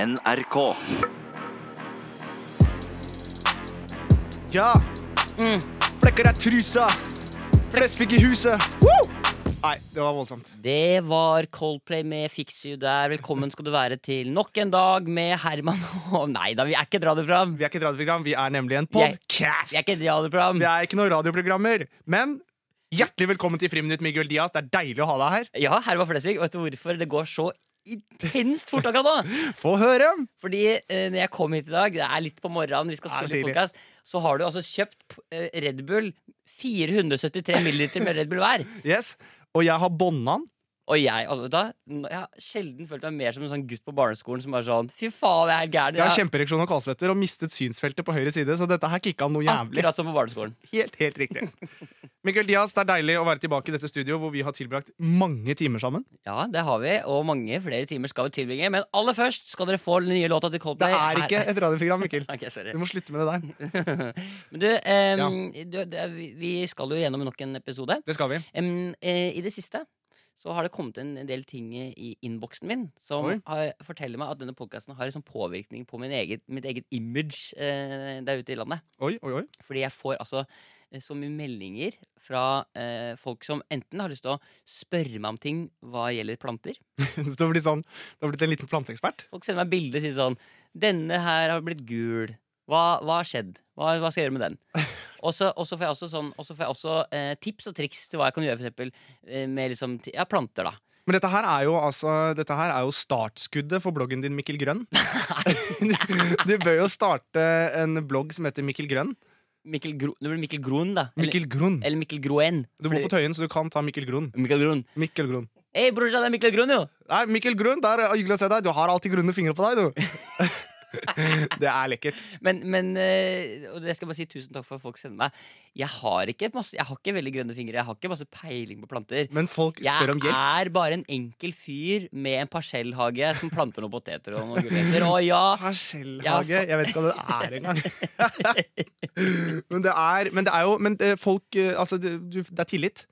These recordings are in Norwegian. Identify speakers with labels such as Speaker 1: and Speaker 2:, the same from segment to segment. Speaker 1: NRK.
Speaker 2: Ja.
Speaker 3: Mm.
Speaker 2: Flekker er trusa. Flest fikk i huset. Woo! Nei, det var voldsomt.
Speaker 3: Det var Coldplay med Fix You der. Velkommen skal du være til nok en dag med Herman og Nei da, vi er ikke et radioprogram.
Speaker 2: Vi er ikke et radioprogram, vi er nemlig en
Speaker 3: Jeg-
Speaker 2: podcast.
Speaker 3: Vi er ikke et radioprogram.
Speaker 2: Vi er ikke noen radioprogrammer. Men hjertelig velkommen til Friminutt, Miguel Diaz. Det er deilig å ha deg her.
Speaker 3: Ja, Herman Flesvig. Og vet du hvorfor det går så intenst fort akkurat nå?
Speaker 2: Få høre.
Speaker 3: Fordi eh, når jeg kom hit i dag, det er litt på morgenen, vi skal
Speaker 2: Ja,
Speaker 3: spille
Speaker 2: tidlig.
Speaker 3: podcast, så har du altså kjøpt eh, Red Bull 473 milliliter med Red Bull hver.
Speaker 2: Yes. Og jeg har bånda den.
Speaker 3: Og jeg, altså, vet du, hva? Nå- jeg har sjelden følt meg mer som en sånn gutt på barneskolen som bare sånn Fy faen, jeg er gæren.
Speaker 2: Jeg har
Speaker 3: Ja,
Speaker 2: kjempereaksjon og kaldsvetter og mistet synsfeltet på høyre side, så dette her kicka noe jævlig.
Speaker 3: Akkurat som på barneskolen.
Speaker 2: Helt, helt riktig. Miguel Diaz, det er deilig å være tilbake i dette studioet hvor vi har tilbrakt mange timer sammen.
Speaker 3: Ja, det har vi, og mange flere timer skal vi tilbringe. Men aller først skal dere få den nye låta til
Speaker 2: Det
Speaker 3: Coldplay.
Speaker 2: er
Speaker 3: Her-
Speaker 2: ikke et radioprogram, Mikkel.
Speaker 3: Ok, sorry.
Speaker 2: Du må slutte med det der.
Speaker 3: Men du, em, du det, vi- vi skal jo gjennom nok en episode.
Speaker 2: Det skal vi.
Speaker 3: Em, eh, I det siste så har det kommet en del ting i innboksen min
Speaker 2: Oi.
Speaker 3: som har, forteller meg at denne podkasten har liksom påvirkning på min eget, mitt eget image eh, der ute i landet.
Speaker 2: Oi, oi, oi.
Speaker 3: Fordi jeg får altså eh, så mye meldinger fra eh, folk som enten har lyst til å spørre meg om ting hva gjelder planter.
Speaker 2: Så du har blitt, sånn, du har blitt en liten planteekspert?
Speaker 3: Folk sender meg bilder og sier sånn 'Denne her har blitt gul. Hva, hva har skjedd? Hva, hva skal jeg gjøre med den?' Og så og så får jeg også, sånn, og så får jeg også eh, tips og triks til hva jeg kan gjøre for eksempel, eh, med liksom, ti- ja, planter. da
Speaker 2: Men dette her, er jo, altså, dette her er jo startskuddet for bloggen din, Mikkel Grønn. Du, du bør jo starte en blogg som heter Mikkel Grønn.
Speaker 3: Mikkel Gro, det blir Mikkel Groen, da.
Speaker 2: Mikkel Grunn.
Speaker 3: Eller, eller Mikkel Groen.
Speaker 2: Du bor på Tøyen, så du kan ta Mikkel Grunn.
Speaker 3: Mikkel Groen.
Speaker 2: Mikkel Grunn.
Speaker 3: Hei, brorsan, det er Mikkel Groen, jo!
Speaker 2: Nei, Mikkel Grunn, det er hyggelig å se deg. Du har alltid grunne fingre på deg, du. Det er lekkert.
Speaker 3: Men, men eh, og det skal jeg bare si tusen takk for at folk sender meg. Jeg har ikke masse, jeg har ikke veldig grønne fingre. Jeg har ikke masse peiling på planter.
Speaker 2: Men folk spør
Speaker 3: Jeg
Speaker 2: om hjelp.
Speaker 3: er bare en enkel fyr med en parsellhage som planter noen poteter og noen gulrøtter. Å ja!
Speaker 2: Parsellhage. Jeg vet ikke hva det er engang. Men det er, men det er jo Men eh, folk eh, Altså, du, du- det er tillit.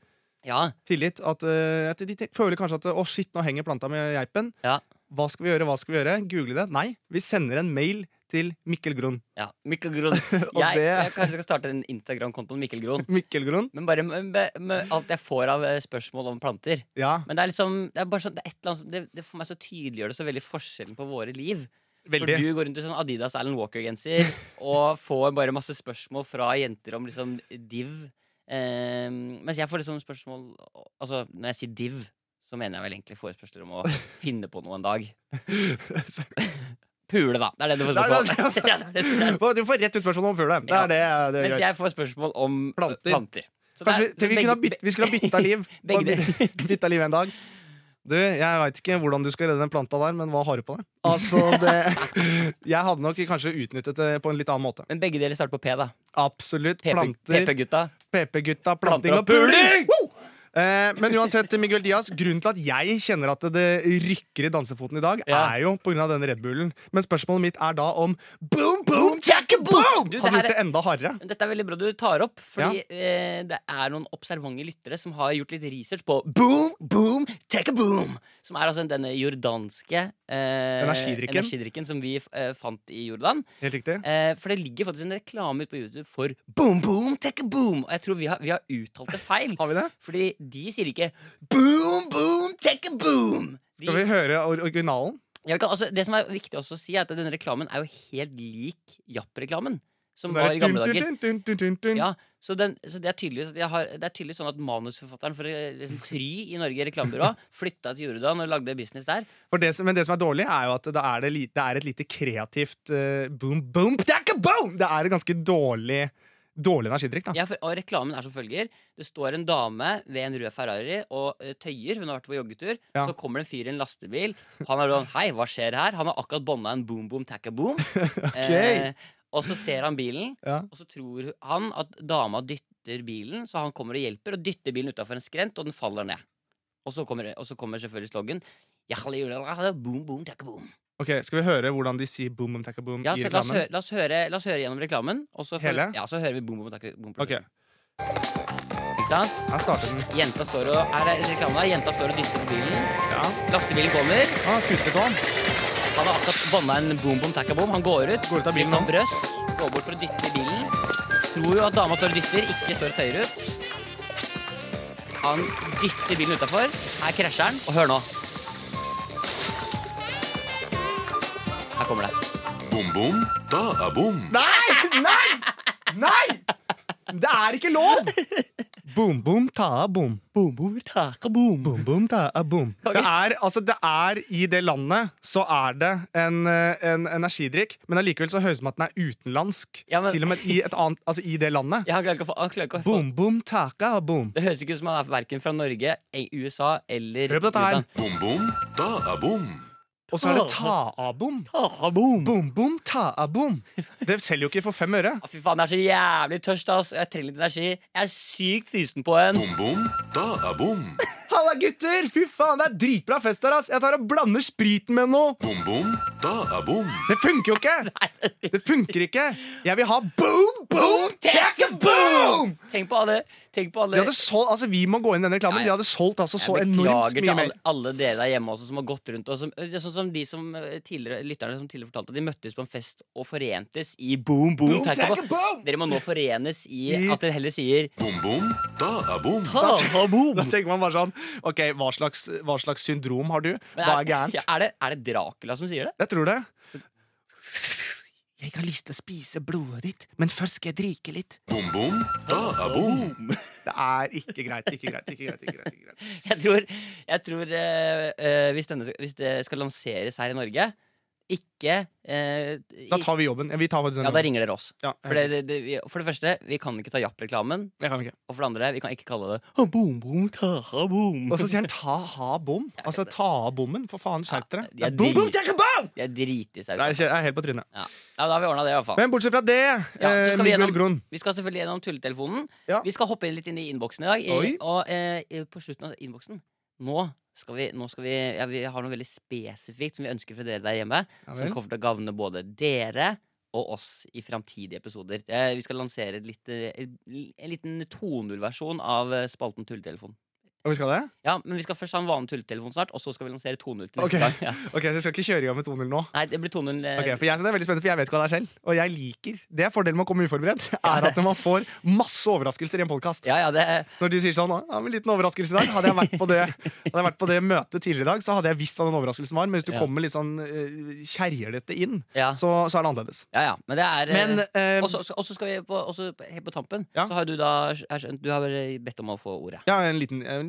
Speaker 3: ja!
Speaker 2: tillit. At, eh, at de te- føler kanskje at å shit, nå henger planta med geipen.
Speaker 3: Ja.
Speaker 2: Hva skal vi gjøre? hva skal vi gjøre? Google det. Nei, vi sender en mail til Mikkel Grunn.
Speaker 3: ja. Mikkel Gron. Jeg,
Speaker 2: det-
Speaker 3: jeg kanskje skal starte en Instagram-konto med Mikkel Gron.
Speaker 2: Mikkel Grunn?
Speaker 3: Men bare med, med, med alt jeg får av eh, spørsmål om planter.
Speaker 2: Ja,
Speaker 3: Men det er liksom Det er bare sånn, det, er et eller annet, som- det, det for meg så tydeliggjør det så veldig forskjellen på våre liv. For
Speaker 2: veldig.
Speaker 3: du går rundt i sånn Adidas Alan Walker-genser og får bare masse spørsmål fra jenter om liksom div. Eh, mens jeg får liksom spørsmål Altså, når jeg sier div, så mener jeg vel egentlig forespørsler om å finne på noe en dag. Pule, da. Det er det du får
Speaker 2: Nei,
Speaker 3: spørsmål
Speaker 2: nei,
Speaker 3: om. Ja, det er det- det er det.
Speaker 2: Hva, Du får rett ut spørsmål om fuglen. Det er det, det
Speaker 3: Mens
Speaker 2: gjør.
Speaker 3: jeg får spørsmål om eh,
Speaker 2: Planter.
Speaker 3: planter. Så det
Speaker 2: Kanskje
Speaker 3: er-
Speaker 2: vi, til vi,
Speaker 3: begge-
Speaker 2: kunne ha bytt, vi skulle ha bytta liv.
Speaker 3: Begge deler.
Speaker 2: Bytta liv en dag. Du, jeg veit ikke hvordan du skal redde den planta der, men hva har du på deg? Altså, det Jeg hadde nok kanskje utnyttet det på en litt annen måte.
Speaker 3: Men begge deler starter på P, da.
Speaker 2: Absolutt. Planter.
Speaker 3: PP-gutta.
Speaker 2: PP-gutta,
Speaker 3: Planter
Speaker 2: planting
Speaker 3: og
Speaker 2: og puling! Woo! Eh, men uansett, Miguel Diaz, grunnen til at jeg kjenner at det rykker i dansefoten i dag,
Speaker 3: Ja.
Speaker 2: er jo pga. denne Red Bullen. Men spørsmålet mitt er da om boom, boom, jacka, boom!
Speaker 3: Du, det
Speaker 2: Hadde
Speaker 3: her
Speaker 2: gjort det enda hardere.
Speaker 3: Men Dette er veldig bra du tar opp, fordi eh, det er noen observante lyttere som har gjort litt research på Boom, boom, take a boom! Som er altså denne jordanske eh,
Speaker 2: Energidrikken.
Speaker 3: energidrikken som vi eh, fant i Jordan.
Speaker 2: Helt riktig.
Speaker 3: Eh, for det ligger faktisk en reklame ute på YouTube for boom, boom, take a boom! Og jeg tror vi har, vi har uttalt det feil.
Speaker 2: Har vi det?
Speaker 3: Fordi de sier ikke boom, boom, take a boom! De,
Speaker 2: Skal vi høre or- originalen?
Speaker 3: ja, vi kan, altså, det som er viktig også å si, er at denne reklamen er jo helt lik Japp-reklamen. Som
Speaker 2: Den
Speaker 3: var
Speaker 2: der
Speaker 3: i gamle
Speaker 2: dun,
Speaker 3: dager.
Speaker 2: dun, dun, dun, dun, dun.
Speaker 3: Ja, så, den, så det, er tydelig, at jeg har, det er tydelig sånn at manusforfatteren for eh, liksom, Try i Norge reklamebyrå flytta til Jordan og lagde business der.
Speaker 2: For det, som- men det som er dårlig, er jo at det er, det, li- det er et lite kreativt eh, boom, boom, jacka, boom! Det er et ganske dårlig, dårlig energidrikk, da.
Speaker 3: Ja, for, og reklamen er som følger. Det står en dame ved en rød Ferrari og eh, tøyer. Hun har vært på joggetur.
Speaker 2: Ja.
Speaker 3: Så kommer det en fyr i en lastebil. Han er sånn Hei, hva skjer her? Han har akkurat bånda en boom boom tacka boom. Eh, og så ser han bilen,
Speaker 2: Ja.
Speaker 3: og så tror han at dama dytter bilen, så han kommer og hjelper og dytter bilen utafor en skrent, og den faller ned. Og så kommer, og så kommer selvfølgelig slogan. «Jahle, jule, jahle, Boom, boom, takka, boom.
Speaker 2: Ok, Skal vi høre hvordan de sier boom, boom, takka, boom
Speaker 3: Ja,
Speaker 2: i
Speaker 3: så la, oss
Speaker 2: reklamen?
Speaker 3: høre, la, oss høre, la oss høre gjennom reklamen. Og så får-
Speaker 2: Hele?
Speaker 3: Ja, så hører vi boom, boom, takka, boom.
Speaker 2: Ok,
Speaker 3: Ikke sant?
Speaker 2: her starter den.
Speaker 3: Jenta står og er det reklamen her? Jenta står og dytter på bilen.
Speaker 2: Ja.
Speaker 3: Lastebilen kommer.
Speaker 2: Ah, tutet om.
Speaker 3: Han har akkurat banna en boom bom takka bom. Han går ut,
Speaker 2: Går ut av bilen
Speaker 3: blir tatt brøst, går bort for å dytte i bilen. Tror jo at dama står og dytter, ikke står og tøyer ut. Han dytter bilen utafor. Her krasjer han, og hør nå. Her kommer det.
Speaker 1: Bom, bom, da er bom.
Speaker 2: Nei! Nei! Nei! Det er ikke lov! Boom, boom, ta, boom.
Speaker 3: Boom, boom, taka, boom.
Speaker 2: Boom, boom, ta, boom.
Speaker 3: Ok.
Speaker 2: Det er, altså, det er I det landet så er det en, eh, en energidrikk, men allikevel så høres det ut som at den er utenlandsk.
Speaker 3: Ja, men-
Speaker 2: Til og med i, et annet, altså, i det landet.
Speaker 3: Ja, han klarer ikke å få, han klarer ikke å få.
Speaker 2: Boom, boom, taka, boom.
Speaker 3: Det høres ikke ut som han er verken fra Norge, eh, USA eller
Speaker 2: Hør på dette her.
Speaker 1: Bom, bom, da er bom.
Speaker 2: Og så er det ta-a-bom.
Speaker 3: Taka, boom.
Speaker 2: Boom, boom, ta-a-bom. Det selger jo ikke for fem øre.
Speaker 3: Å, Fy faen, jeg er så jævlig tørst, ass. Jeg trenger litt energi. Jeg er sykt fysen på en.
Speaker 1: Bom, bom, da er bom.
Speaker 2: Halla, gutter! Fy faen, det er dritbra fest her, ass. Jeg tar og blander spriten med noe.
Speaker 1: Bom, bom, da er bom.
Speaker 2: Det funker jo ikke! Det funker ikke. Jeg vil ha boom, boom, take a boom!
Speaker 3: Tenk på alle. Tenk på alle.
Speaker 2: De hadde solgt, altså Vi må gå inn i denne reklamen.
Speaker 3: Nei.
Speaker 2: De hadde solgt altså så
Speaker 3: jeg
Speaker 2: enormt
Speaker 3: beklager til
Speaker 2: mye mer.
Speaker 3: alle, alle dere der hjemme også som har gått rundt og som, det er sånn som de som eh, tidligere, lytterne som tidligere fortalte at de møttes på en fest og forentes i boom, boom,
Speaker 2: Boom,
Speaker 3: take
Speaker 2: take
Speaker 3: up.
Speaker 2: a boom!
Speaker 3: Dere må nå forenes i
Speaker 2: I-
Speaker 3: at dere heller sier
Speaker 1: Bom, bom, da er bom.
Speaker 3: ta, ta, boom.
Speaker 2: Da tenker man bare sånn OK, hva slags, hva slags syndrom har du?
Speaker 3: Men
Speaker 2: Hva er gærent?
Speaker 3: ja, er, det, er det Dracula som sier det?
Speaker 2: Jeg tror det. Jeg har lyst til å spise blodet ditt, men først skal jeg drikke litt.
Speaker 1: Bom, bom, da er bom.
Speaker 2: Det er ikke greit. Ikke greit. ikke greit, ikke greit, ikke greit.
Speaker 3: Jeg tror, jeg tror eh, eh, hvis, denne, hvis det skal lanseres her i Norge, ikke eh,
Speaker 2: Da
Speaker 3: i-
Speaker 2: tar vi jobben. Ja, Vi tar faktisk den
Speaker 3: Ja, da
Speaker 2: jobben.
Speaker 3: ringer dere oss.
Speaker 2: Ja,
Speaker 3: For det, det, det, vi- for det første, vi kan ikke ta Japp-reklamen.
Speaker 2: jeg kan ikke.
Speaker 3: Og for det andre, vi kan ikke kalle det «Ha, boom, boom, ta, ha, boom.
Speaker 2: Og så sier han ta ha bom. Altså ta av bommen. For faen, skjerp dere.
Speaker 3: Ja, de er
Speaker 2: Boom, boom,
Speaker 3: drit-
Speaker 2: take a boom!
Speaker 3: Jeg driter i seg.
Speaker 2: Nei,
Speaker 3: ut.
Speaker 2: Jeg er helt på trynet.
Speaker 3: Ja, da har vi ordna det, i hvert fall.
Speaker 2: Men bortsett fra det,
Speaker 3: Ja, så
Speaker 2: eh,
Speaker 3: skal vi
Speaker 2: Miguel
Speaker 3: gjennom-
Speaker 2: Grun
Speaker 3: Vi skal selvfølgelig gjennom tulletelefonen.
Speaker 2: Ja.
Speaker 3: Vi skal hoppe inn litt inn i innboksen i dag. I,
Speaker 2: Oi.
Speaker 3: og eh, i- på slutten av innboksen Nå skal vi, nå skal vi, ja, vi har noe veldig spesifikt som vi ønsker fra dere der hjemme.
Speaker 2: Ja
Speaker 3: som
Speaker 2: vel.
Speaker 3: kommer til å gagne både dere og oss i framtidige episoder. Eh, Vi skal lansere et lite, en liten 2.0-versjon av eh, spalten Tulletelefon.
Speaker 2: Og vi skal det?
Speaker 3: Ja, men Vi skal først ha en vanlig tulletelefon snart, og så skal vi lansere 2.0 til neste
Speaker 2: Ok.
Speaker 3: gang. Ja.
Speaker 2: Ok, Så jeg skal ikke kjøre i gang med 2-0 nå?
Speaker 3: Nei, det blir 2.0. eh,
Speaker 2: Ok, for jeg, så det er veldig spennende, for jeg vet ikke hva det er selv. Og jeg liker Det er fordelen med å komme uforberedt. Er at man får masse overraskelser i en podkast.
Speaker 3: Ja, ja, det
Speaker 2: Når de sier sånn «Å, ja, men liten overraskelse i dag Hadde jeg vært på det Hadde jeg vært på det møtet tidligere i dag, så hadde jeg visst hva den overraskelsen var. Men hvis du
Speaker 3: Ja.
Speaker 2: kommer litt sånn eh, kjerrete inn,
Speaker 3: ja,
Speaker 2: så, så er det annerledes.
Speaker 3: ja, ja. Men det er eh,
Speaker 2: Men eh,
Speaker 3: Og så og så skal vi på, også på- helt på tampen,
Speaker 2: Ja.
Speaker 3: så har du da jeg har skjønt, Du har vel bedt om å få ordet.
Speaker 2: Ja, en liten, en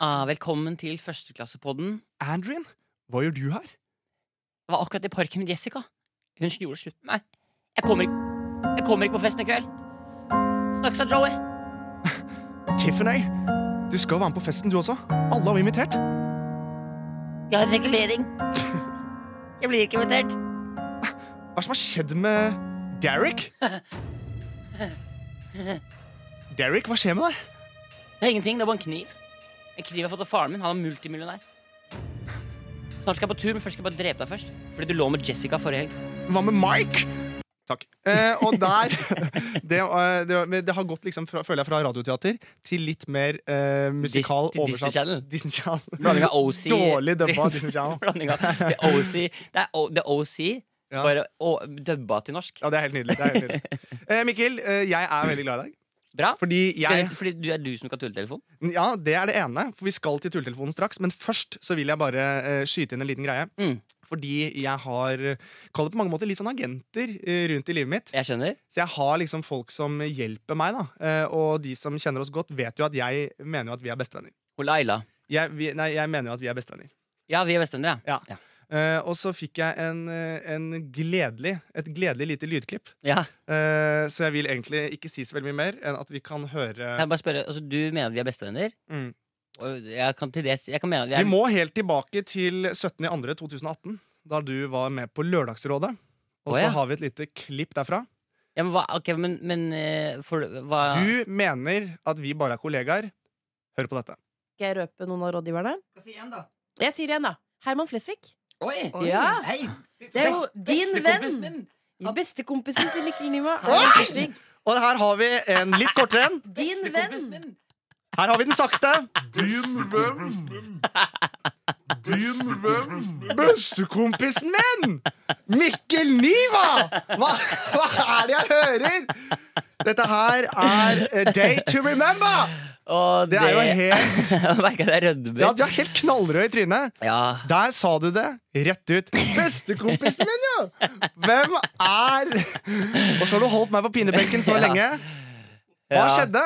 Speaker 3: ah, Velkommen til førsteklassepodden.
Speaker 2: Andrian, hva gjør du her?
Speaker 3: Jeg var akkurat i parken med Jessica. Hun gjorde slutt med meg. Jeg kommer ikke, jeg kommer ikke på festen i kveld. Snakkes da, Joey.
Speaker 2: Tiffany, du skal jo være med på festen, du også. Alle har jo invitert.
Speaker 3: Jeg har regulering. Jeg blir ikke invitert.
Speaker 2: Hva er det som har skjedd med Derek? Derek, hva skjer med deg?
Speaker 3: Det er ingenting, det er bare en kniv. En kniv jeg har fått av faren min. Han er multimillionær. Snart skal jeg på tur, men først skal jeg bare drepe deg først. Fordi du lå med Jessica forrige helg.
Speaker 2: Hva med Mike? Takk. Eh, og der det, eh, det, men det har gått liksom fra, føler jeg, fra radioteater til litt mer eh, musikal
Speaker 3: Dis- til Disney Channel.
Speaker 2: Disney Channel.
Speaker 3: Blanding av OC
Speaker 2: Dårlig dubba av Disney Channel.
Speaker 3: Blanding av The OC Det er o, The OC
Speaker 2: Ja.
Speaker 3: Bare å, dubba til norsk
Speaker 2: Ja, det er helt nydelig. Det er helt nydelig. Eh, Mikkel, eh, jeg er veldig glad i deg.
Speaker 3: Bra
Speaker 2: Fordi jeg
Speaker 3: Fordi- Fordi du er du som skal tulle telefon
Speaker 2: Ja, det er det ene, for vi skal til tulletelefonen straks. Men først så vil jeg bare eh, skyte inn en liten greie.
Speaker 3: Mm.
Speaker 2: Fordi jeg har eh, Kall det på mange måter litt sånn agenter eh, rundt i livet mitt.
Speaker 3: Jeg skjønner
Speaker 2: Så jeg har liksom folk som hjelper meg, da. Eh, og de som kjenner oss godt, vet jo at jeg mener jo at vi er bestevenner.
Speaker 3: Og Laila
Speaker 2: Jeg, vi, nei, jeg mener jo at vi er bestevenner.
Speaker 3: Ja, vi er bestevenner ja.
Speaker 2: Ja. Eh, og så fikk jeg en, eh, en gledelig, et gledelig lite lydklipp.
Speaker 3: ja
Speaker 2: Eh, så jeg vil egentlig ikke si så veldig mye mer enn at vi kan høre
Speaker 3: Kan jeg bare spørre Altså, du mener vi er bestevenner
Speaker 2: Mm.
Speaker 3: Og jeg kan til det si- Jeg kan mene at vi
Speaker 2: Vi
Speaker 3: er
Speaker 2: må helt tilbake til 17.2.2018, da du var med på Lørdagsrådet. Og
Speaker 3: Å,
Speaker 2: så
Speaker 3: ja.
Speaker 2: har vi et lite klipp derfra.
Speaker 3: ja, men, hva, ok, men, men eh, for, hva
Speaker 2: Du mener at vi bare er kollegaer. Hør på dette.
Speaker 4: Skal jeg røpe noen av rådgiverne?
Speaker 5: Hva sier han da?
Speaker 4: Jeg sier igjen, da. Herman Flesvig.
Speaker 5: Oi!
Speaker 4: Oi. Ja.
Speaker 5: Hei!
Speaker 4: Det er jo
Speaker 5: Best-
Speaker 4: din
Speaker 5: bestekompisen
Speaker 4: venn.
Speaker 5: min. Han-
Speaker 4: Bestekompisen til Mikkel Niva.
Speaker 5: Oi!
Speaker 4: Herman Flesvig.
Speaker 2: Og her har vi en litt kortere en.
Speaker 4: Din
Speaker 5: Bestekompisen
Speaker 4: venn.
Speaker 5: min.
Speaker 2: Her har vi den sakte.
Speaker 1: Din venn. Din venn.
Speaker 2: Bøssekompisen min! Mikkel Niva! Hva, hva er det jeg hører? Dette her er a day to remember!
Speaker 3: Og
Speaker 2: Det er jo
Speaker 3: helt
Speaker 2: helt
Speaker 3: Jeg merker at jeg rødmer.
Speaker 2: Ja, du er helt knallrød i trynet.
Speaker 3: Ja.
Speaker 2: Der sa du det rett ut. Bestekompisen min, jo! Hvem er Og så har du holdt meg på pinebenken så
Speaker 3: Ja.
Speaker 2: lenge. Hva
Speaker 3: Ja.
Speaker 2: skjedde?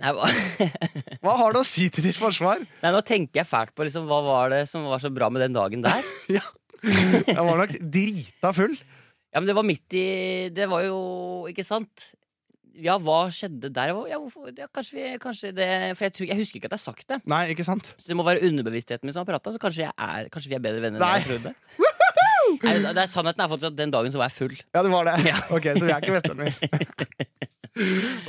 Speaker 3: Nei, hva-
Speaker 2: Hva har du å si til ditt forsvar?
Speaker 3: Nei, nå tenker jeg fælt på liksom, hva var det som var så bra med den dagen der.
Speaker 2: Jeg var nok drita full.
Speaker 3: Ja, men det var midt i Det var jo Ikke sant? Ja, hva skjedde der? Hva- Ja, hvorfor, ja, kanskje, vi, kanskje det For jeg, tror, jeg husker ikke at jeg har sagt det.
Speaker 2: Nei, ikke sant?
Speaker 3: Så det må være underbevisstheten min som har prata. Så kanskje, jeg er, kanskje vi er bedre venner
Speaker 2: Nei.
Speaker 3: enn jeg trodde. Nei, det er Sannheten er faktisk at den dagen så var jeg full.
Speaker 2: Ja, det var det. Ok, Så vi er ikke bestevenner.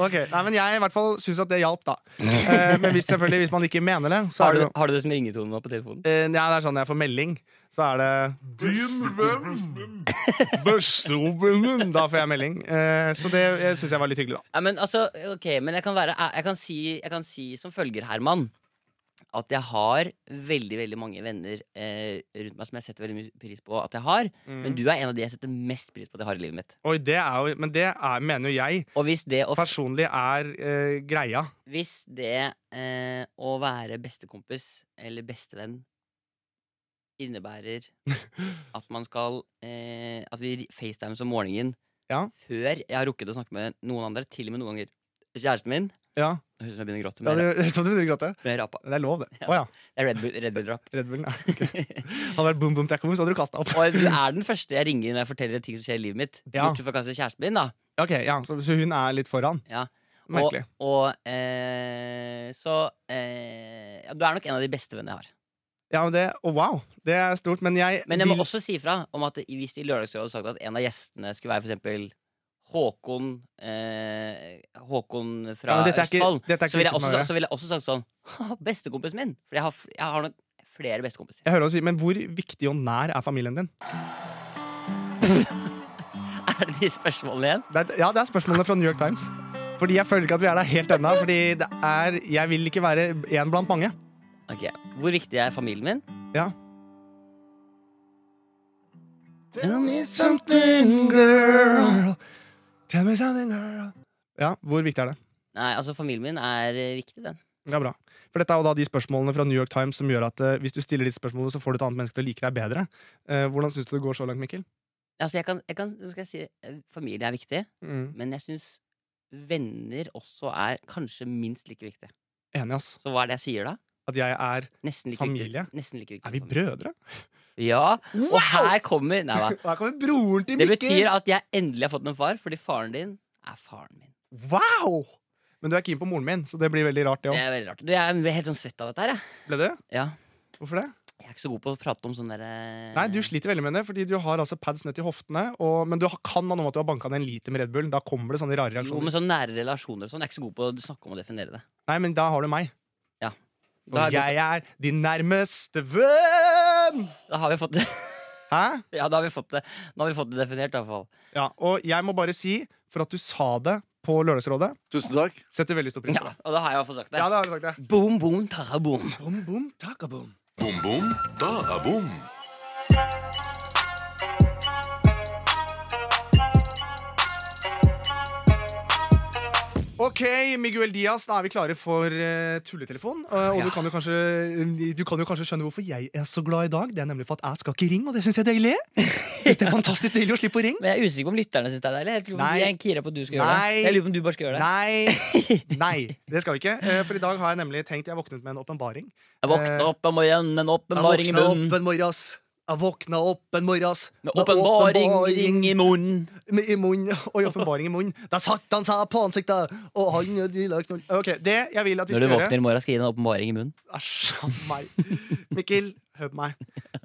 Speaker 2: Ok, nei, men Jeg i hvert fall syns at det hjalp, da. Eh, men hvis, selvfølgelig, hvis man ikke mener det, så er
Speaker 3: Har
Speaker 2: det
Speaker 3: du,
Speaker 2: jo
Speaker 3: har du det som ringetone nå på telefonen?
Speaker 2: Eh, Ja, det er sånn jeg får melding. Så er det
Speaker 1: Din venn.
Speaker 2: Bøsseobbelen! Da får jeg melding. Eh, så det syns jeg var litt hyggelig, da.
Speaker 3: Ja, men altså, ok, men jeg kan, være, jeg, kan si, jeg kan si som følger, Herman, at jeg har veldig veldig mange venner eh, rundt meg som jeg setter veldig mye pris på at jeg har.
Speaker 2: Mm.
Speaker 3: Men du er en av de jeg setter mest pris på at jeg har i livet mitt.
Speaker 2: Oi, det er jo, men det er, mener jo jeg
Speaker 3: Og hvis det å,
Speaker 2: personlig er eh, greia.
Speaker 3: hvis det, eh, å være bestekompis eller bestevenn innebærer at man skal eh, At vi facetimes om morgenen
Speaker 2: Ja.
Speaker 3: før jeg har rukket å snakke med noen andre, til og med noen ganger kjæresten min.
Speaker 2: Ja,
Speaker 3: Høres ut som jeg begynner å gråte.
Speaker 2: ja
Speaker 3: Med,
Speaker 2: det høres ut som du begynner å gråte.
Speaker 3: med rapa.
Speaker 2: Det er lov, det. Å ja.
Speaker 3: Det er Red Bull- Red Bull-drap.
Speaker 2: Red Bullen. Ja. ok. Hadde vært boom boom tack boom, så hadde du kasta opp.
Speaker 3: Og du er den første jeg ringer når jeg forteller ting som skjer i livet mitt.
Speaker 2: Ja.
Speaker 3: Bortsett fra kanskje kjæresten min, da.
Speaker 2: Ok, ja, Så, så hun er litt foran.
Speaker 3: Ja.
Speaker 2: Merkelig.
Speaker 3: Og, og eh, så eh, ja, Du er nok en av de beste vennene jeg har.
Speaker 2: Ja, men det, og wow, det er stort, men jeg
Speaker 3: Men jeg må
Speaker 2: vil-
Speaker 3: også si fra om at hvis de i Lørdagsrådet hadde sagt at en av gjestene skulle være for eksempel Håkon eh, Håkon
Speaker 2: Ja,
Speaker 3: fra
Speaker 2: men dette er ikke-
Speaker 3: Østfold,
Speaker 2: dette er ikke
Speaker 3: så, ville jeg
Speaker 2: riktig
Speaker 3: også,
Speaker 2: med å
Speaker 3: sagt- så ville jeg også sagt sånn «Haha, Bestekompisen min! For jeg har, f- jeg har nok flere bestekompiser.
Speaker 2: jeg hører også, Men hvor viktig og nær er familien din?
Speaker 3: Er det de spørsmålene igjen?
Speaker 2: Det er, ja, det er spørsmålene fra New York Times. Fordi jeg føler ikke at vi er der helt ennå. Fordi det er, jeg vil ikke være én blant mange.
Speaker 3: Ok, Hvor viktig er familien min?
Speaker 2: Ja. Tell me something, girl. Tell me something, girl. Ja, hvor viktig er det?
Speaker 3: Nei, altså familien min er eh, viktig, den.
Speaker 2: Ja, bra. For dette er jo da de spørsmålene fra New York Times som gjør at eh, hvis du stiller disse spørsmålene, så får du et annet menneske til å like deg bedre. Eh, hvordan syns du det går så langt, Mikkel?
Speaker 3: Altså, jeg kan, jeg kan, nå skal jeg si, eh, familie er viktig,
Speaker 2: Mm.
Speaker 3: men jeg syns venner også er kanskje minst like viktig.
Speaker 2: Enig, ass.
Speaker 3: Så hva er det jeg sier da?
Speaker 2: At jeg er
Speaker 3: Nesten like
Speaker 2: Familie?
Speaker 3: viktig. Nesten like viktig.
Speaker 2: Er vi
Speaker 3: som familie.
Speaker 2: brødre?
Speaker 3: Ja, og her kommer Nei da.
Speaker 2: Her kommer broren til
Speaker 3: Det
Speaker 2: Mikkel!
Speaker 3: betyr at jeg endelig har fått en far, fordi faren din er faren min.
Speaker 2: Wow! Men du er keen på moren min, så det blir veldig rart, det
Speaker 3: Det
Speaker 2: òg.
Speaker 3: er veldig rart. Du, jeg blir helt sånn svett av dette her, jeg.
Speaker 2: Ble det?
Speaker 3: Ja.
Speaker 2: Hvorfor det?
Speaker 3: Jeg er ikke så god på å prate om sånne derre
Speaker 2: Nei, du sliter veldig med det, fordi du har altså pads ned til hoftene, og, men du har- kan ha noe med at du har banka ned en liter med Red Bull. Da kommer det sånne rare
Speaker 3: Jo,
Speaker 2: reaksjoner.
Speaker 3: men sånn nære relasjoner og sånn. Jeg er ikke så god på å snakke om og definere det.
Speaker 2: Nei, men da har du meg.
Speaker 3: Ja. Da har
Speaker 2: Og
Speaker 3: jeg
Speaker 2: jeg er din nærmeste venn!
Speaker 3: Da har vi fått det.
Speaker 2: Hæ?
Speaker 3: Ja, da har vi fått det. Nå har vi fått det definert, i hvert fall.
Speaker 2: Ja, og jeg må bare si, for at du sa det på Lørdagsrådet,
Speaker 6: Tusen takk.
Speaker 2: setter veldig stor pris på
Speaker 3: Ja,
Speaker 2: det.
Speaker 3: og da har jeg i hvert fall sagt det.
Speaker 2: Ja, det har du sagt det.
Speaker 3: Boom, boom, tara, boom.
Speaker 2: Boom, boom, taka, boom.
Speaker 1: Boom, boom, da er boom.
Speaker 2: Ok, Miguel Diaz, da er vi klare for eh, tulletelefon. Eh, og du,
Speaker 3: Ja.
Speaker 2: kan jo kanskje, eh, du kan jo kanskje skjønne hvorfor jeg er så glad i dag. Det er nemlig for at jeg skal ikke ringe, og det syns jeg er deilig. Synes det er fantastisk deilig å slippe å ringe.
Speaker 3: Men jeg er usikker på om lytterne syns det er deilig. Jeg lurer på om
Speaker 2: Nei.
Speaker 3: de er gira på at du skal
Speaker 2: Nei.
Speaker 3: gjøre det. Jeg lurer på om du bare skal gjøre det.
Speaker 2: Nei, nei, det skal vi ikke. Eh, for i dag har jeg nemlig tenkt Jeg våknet med en åpenbaring.
Speaker 3: Jeg våkna opp om morgenen, men opp med
Speaker 2: Jeg
Speaker 3: maring i
Speaker 2: våkna
Speaker 3: bunnen.
Speaker 2: en morgen, ass. Jeg våkna opp en morges
Speaker 3: Med åpenbaring ring
Speaker 2: åpenbaring
Speaker 3: i munnen.
Speaker 2: med- i munnen. Oi, åpenbaring i munnen. Der satt han seg på ansiktet, og han ville knulle Ok, det jeg vil at vi
Speaker 3: Når
Speaker 2: skal
Speaker 3: du
Speaker 2: gjøre
Speaker 3: våkner i morgen, skriv en åpenbaring i munnen.
Speaker 2: Æsj a meg. Mikkel, hør på meg.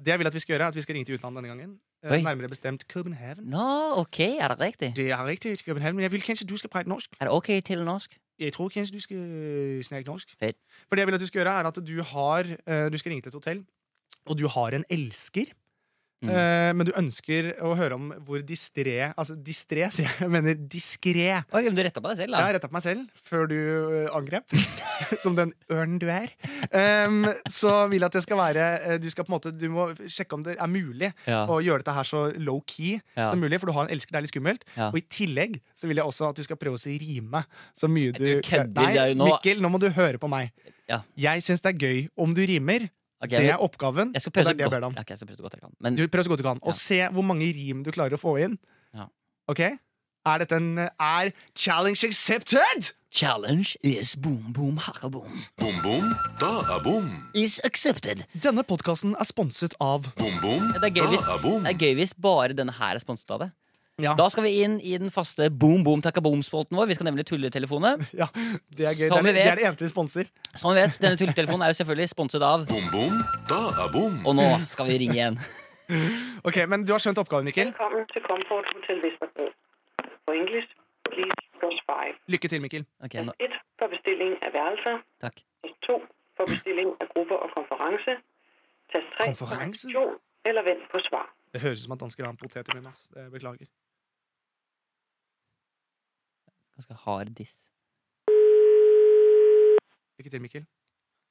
Speaker 2: Det jeg vil at vi skal gjøre, er at vi skal ringe til utlandet denne gangen. Eh,
Speaker 3: Oi.
Speaker 2: Nærmere bestemt København.
Speaker 3: Nå, ok, er det riktig?
Speaker 2: Det er riktig, København, men jeg vil kanskje du skal prate norsk.
Speaker 3: Er det ok til norsk?
Speaker 2: Jeg tror kanskje du skal øh, snakke norsk.
Speaker 3: Fedt.
Speaker 2: For det jeg vil at du skal gjøre, er at du har eh, Du skal ringe til et hotell, og du har en elsker.
Speaker 3: Mm.
Speaker 2: eh, men du ønsker å høre om hvor distré Altså distré, sier jeg. Jeg mener diskré.
Speaker 3: Oi, men du retta på deg selv,
Speaker 2: Jeg har
Speaker 3: da.
Speaker 2: retta på meg selv før du eh, angrep, som den ørnen du er. Em, så vil jeg at det skal være eh, Du skal på en måte Du må sjekke om det er mulig
Speaker 3: Ja,
Speaker 2: å gjøre dette her så low-key
Speaker 3: ja.
Speaker 2: som mulig, for du har en elsker, det er litt skummelt.
Speaker 3: Ja.
Speaker 2: Og i tillegg så vil jeg også at du skal prøve å si rime så mye du,
Speaker 3: Du kødder,
Speaker 2: Nei,
Speaker 3: det er jo nå-
Speaker 2: Mikkel, nå må du høre på meg.
Speaker 3: Ja.
Speaker 2: Jeg syns det er gøy om du rimer.
Speaker 3: Ok,
Speaker 2: Det
Speaker 3: jeg,
Speaker 2: er oppgaven.
Speaker 3: jeg skal prøve
Speaker 2: og
Speaker 3: så
Speaker 2: det er det jeg ber deg
Speaker 3: godt,
Speaker 2: om.
Speaker 3: Ok, jeg skal prøve så godt jeg kan. Men
Speaker 2: Du prøver så godt du kan.
Speaker 3: Ja.
Speaker 2: Og se hvor mange rim du klarer å få inn.
Speaker 3: Ja.
Speaker 2: Ok? Er dette en eh, Er challenge accepted?
Speaker 3: challenge is boom, boom, harre, boom.
Speaker 1: Boom boom, da er bom.
Speaker 3: Is accepted.
Speaker 2: Denne podkasten er sponset av
Speaker 1: Boom boom,
Speaker 3: Det
Speaker 1: da
Speaker 3: er gøy hvis-
Speaker 1: er bom.
Speaker 3: Det er gøy hvis bare denne her er sponset av det.
Speaker 2: Ja.
Speaker 3: Da skal vi inn i den faste boom, boom, takka boom-spolten vår. Vi skal nemlig tulletelefoner.
Speaker 2: Ja, det er gøy. Det
Speaker 3: Som
Speaker 2: er,
Speaker 3: vi
Speaker 2: det er
Speaker 3: vet.
Speaker 2: det eneste vi sponser.
Speaker 3: Som vi vet, denne tulletelefonen er jo selvfølgelig sponset av
Speaker 1: Boom boom, da er bom.
Speaker 3: Og nå skal vi ringe igjen.
Speaker 2: Ok, Men du har skjønt oppgaven, Mikkel.
Speaker 5: Velkommen til Comfort Hotel Vesterbro. På engelsk, please press 5.
Speaker 2: Lykke til, Mikkel.
Speaker 3: Ok, nå,
Speaker 5: Press 1 for bestilling af værelser.
Speaker 3: takk.
Speaker 5: Press 2 for bestilling af grupper og konference. Press 3 for
Speaker 2: Konference?
Speaker 5: aktion eller vent på svar.
Speaker 2: Det høres ut som at dansker har en potet i munnen. ass. Eh, Beklager.
Speaker 3: Ganske hard diss.
Speaker 2: Lykke til, Mikkel.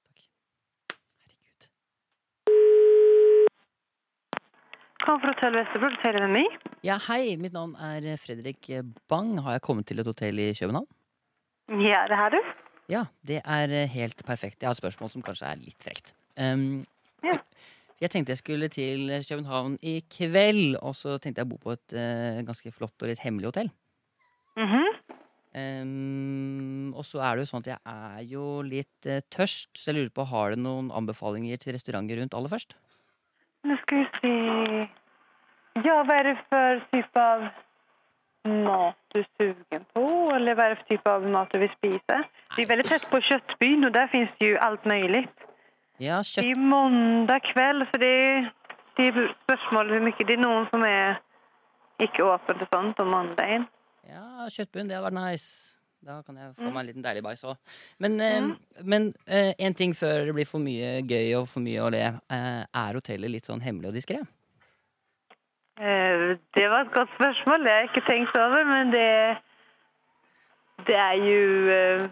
Speaker 3: Herregud.
Speaker 6: Comfort Hotel Vesterbro, du taler med meg.
Speaker 3: Ja, hei, mitt navn er Fredrik Bang. Har jeg kommet til et hotell i København?
Speaker 6: Ja, det her du?
Speaker 3: Ja, det er eh, helt perfekt. Jeg har et spørsmål som kanskje er litt frekt. Ehm,
Speaker 6: Ja.
Speaker 3: Jeg tenkte jeg skulle til København i kveld, og så tenkte jeg å bo på et eh, ganske flott og litt hemmelig hotell.
Speaker 6: Mhm.
Speaker 3: Ehm, og så er det jo sånn at jeg er jo litt eh, tørst, så jeg lurer på, har du noen anbefalinger til restauranter rundt aller først?
Speaker 6: Nå skal vi se. Ja, hva er det for type av mat du er sugen på? Eller hva er det for type av mat du vil spise? Det er veldig tett på Kjøttbyen, og der finnes det jo alt mulig.
Speaker 3: Ja, kjøtt...
Speaker 6: Det er måndag kveld, så det er, det er spørsmålet hvor mye. Det er noen som er ikke åpent og sånt om mandagen.
Speaker 3: Ja, kjøttbunn, det hadde vært nice. Da kan jeg få meg en liten deilig bæsj òg. Men, eh, men eh, en ting før det blir for mye gøy og for mye å le. Eh, er hotellet litt sånn hemmelig og diskré?
Speaker 6: Eh, Det var et godt spørsmål. Det har jeg ikke tenkt over, men det, det er jo eh,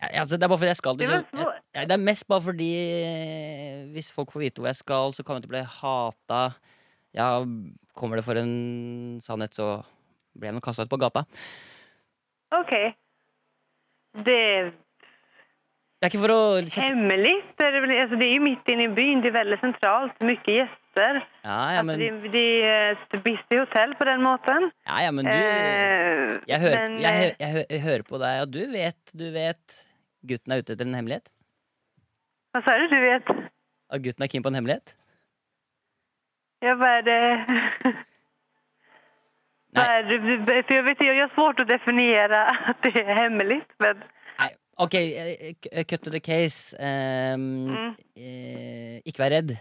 Speaker 3: Ja, altså, det er bare fordi jeg skal til
Speaker 6: Det var
Speaker 3: Kø- jeg,
Speaker 6: så-
Speaker 3: jeg, Det er mest bare fordi eh, hvis folk får vite hvor jeg skal, så kommer jeg til å bli hata. Ja, kommer det for en sannhet, så blir jeg nok kasta ut på gata.
Speaker 6: OK. Det er
Speaker 3: Det er ikke for å sette
Speaker 6: hemmelig. Det er, vel- altså, det er jo midt inne i byen. Det er veldig sentralt. Mye gjester.
Speaker 3: Ja, ja, men,
Speaker 6: altså, det, det er et busy hotell på den måten.
Speaker 3: ja, ja, men du Jeg
Speaker 6: Eh,
Speaker 3: hører,
Speaker 6: men,
Speaker 3: jeg, hø-
Speaker 6: eh,
Speaker 3: jeg, hø- jeg hører på deg, og du vet, du vet gutten er ute etter en hemmelighet?
Speaker 6: Hva sa du? Du vet
Speaker 3: At gutten er keen på en hemmelighet?
Speaker 6: Ja, hva er det
Speaker 3: Nei.
Speaker 6: Hva er det? For jeg vet, jeg har svårt å definere at det er hemmelig, men
Speaker 3: Nei, ok, eh, k- cut to the case. Ehm,
Speaker 6: Mm.
Speaker 3: eh, ikke vær redd.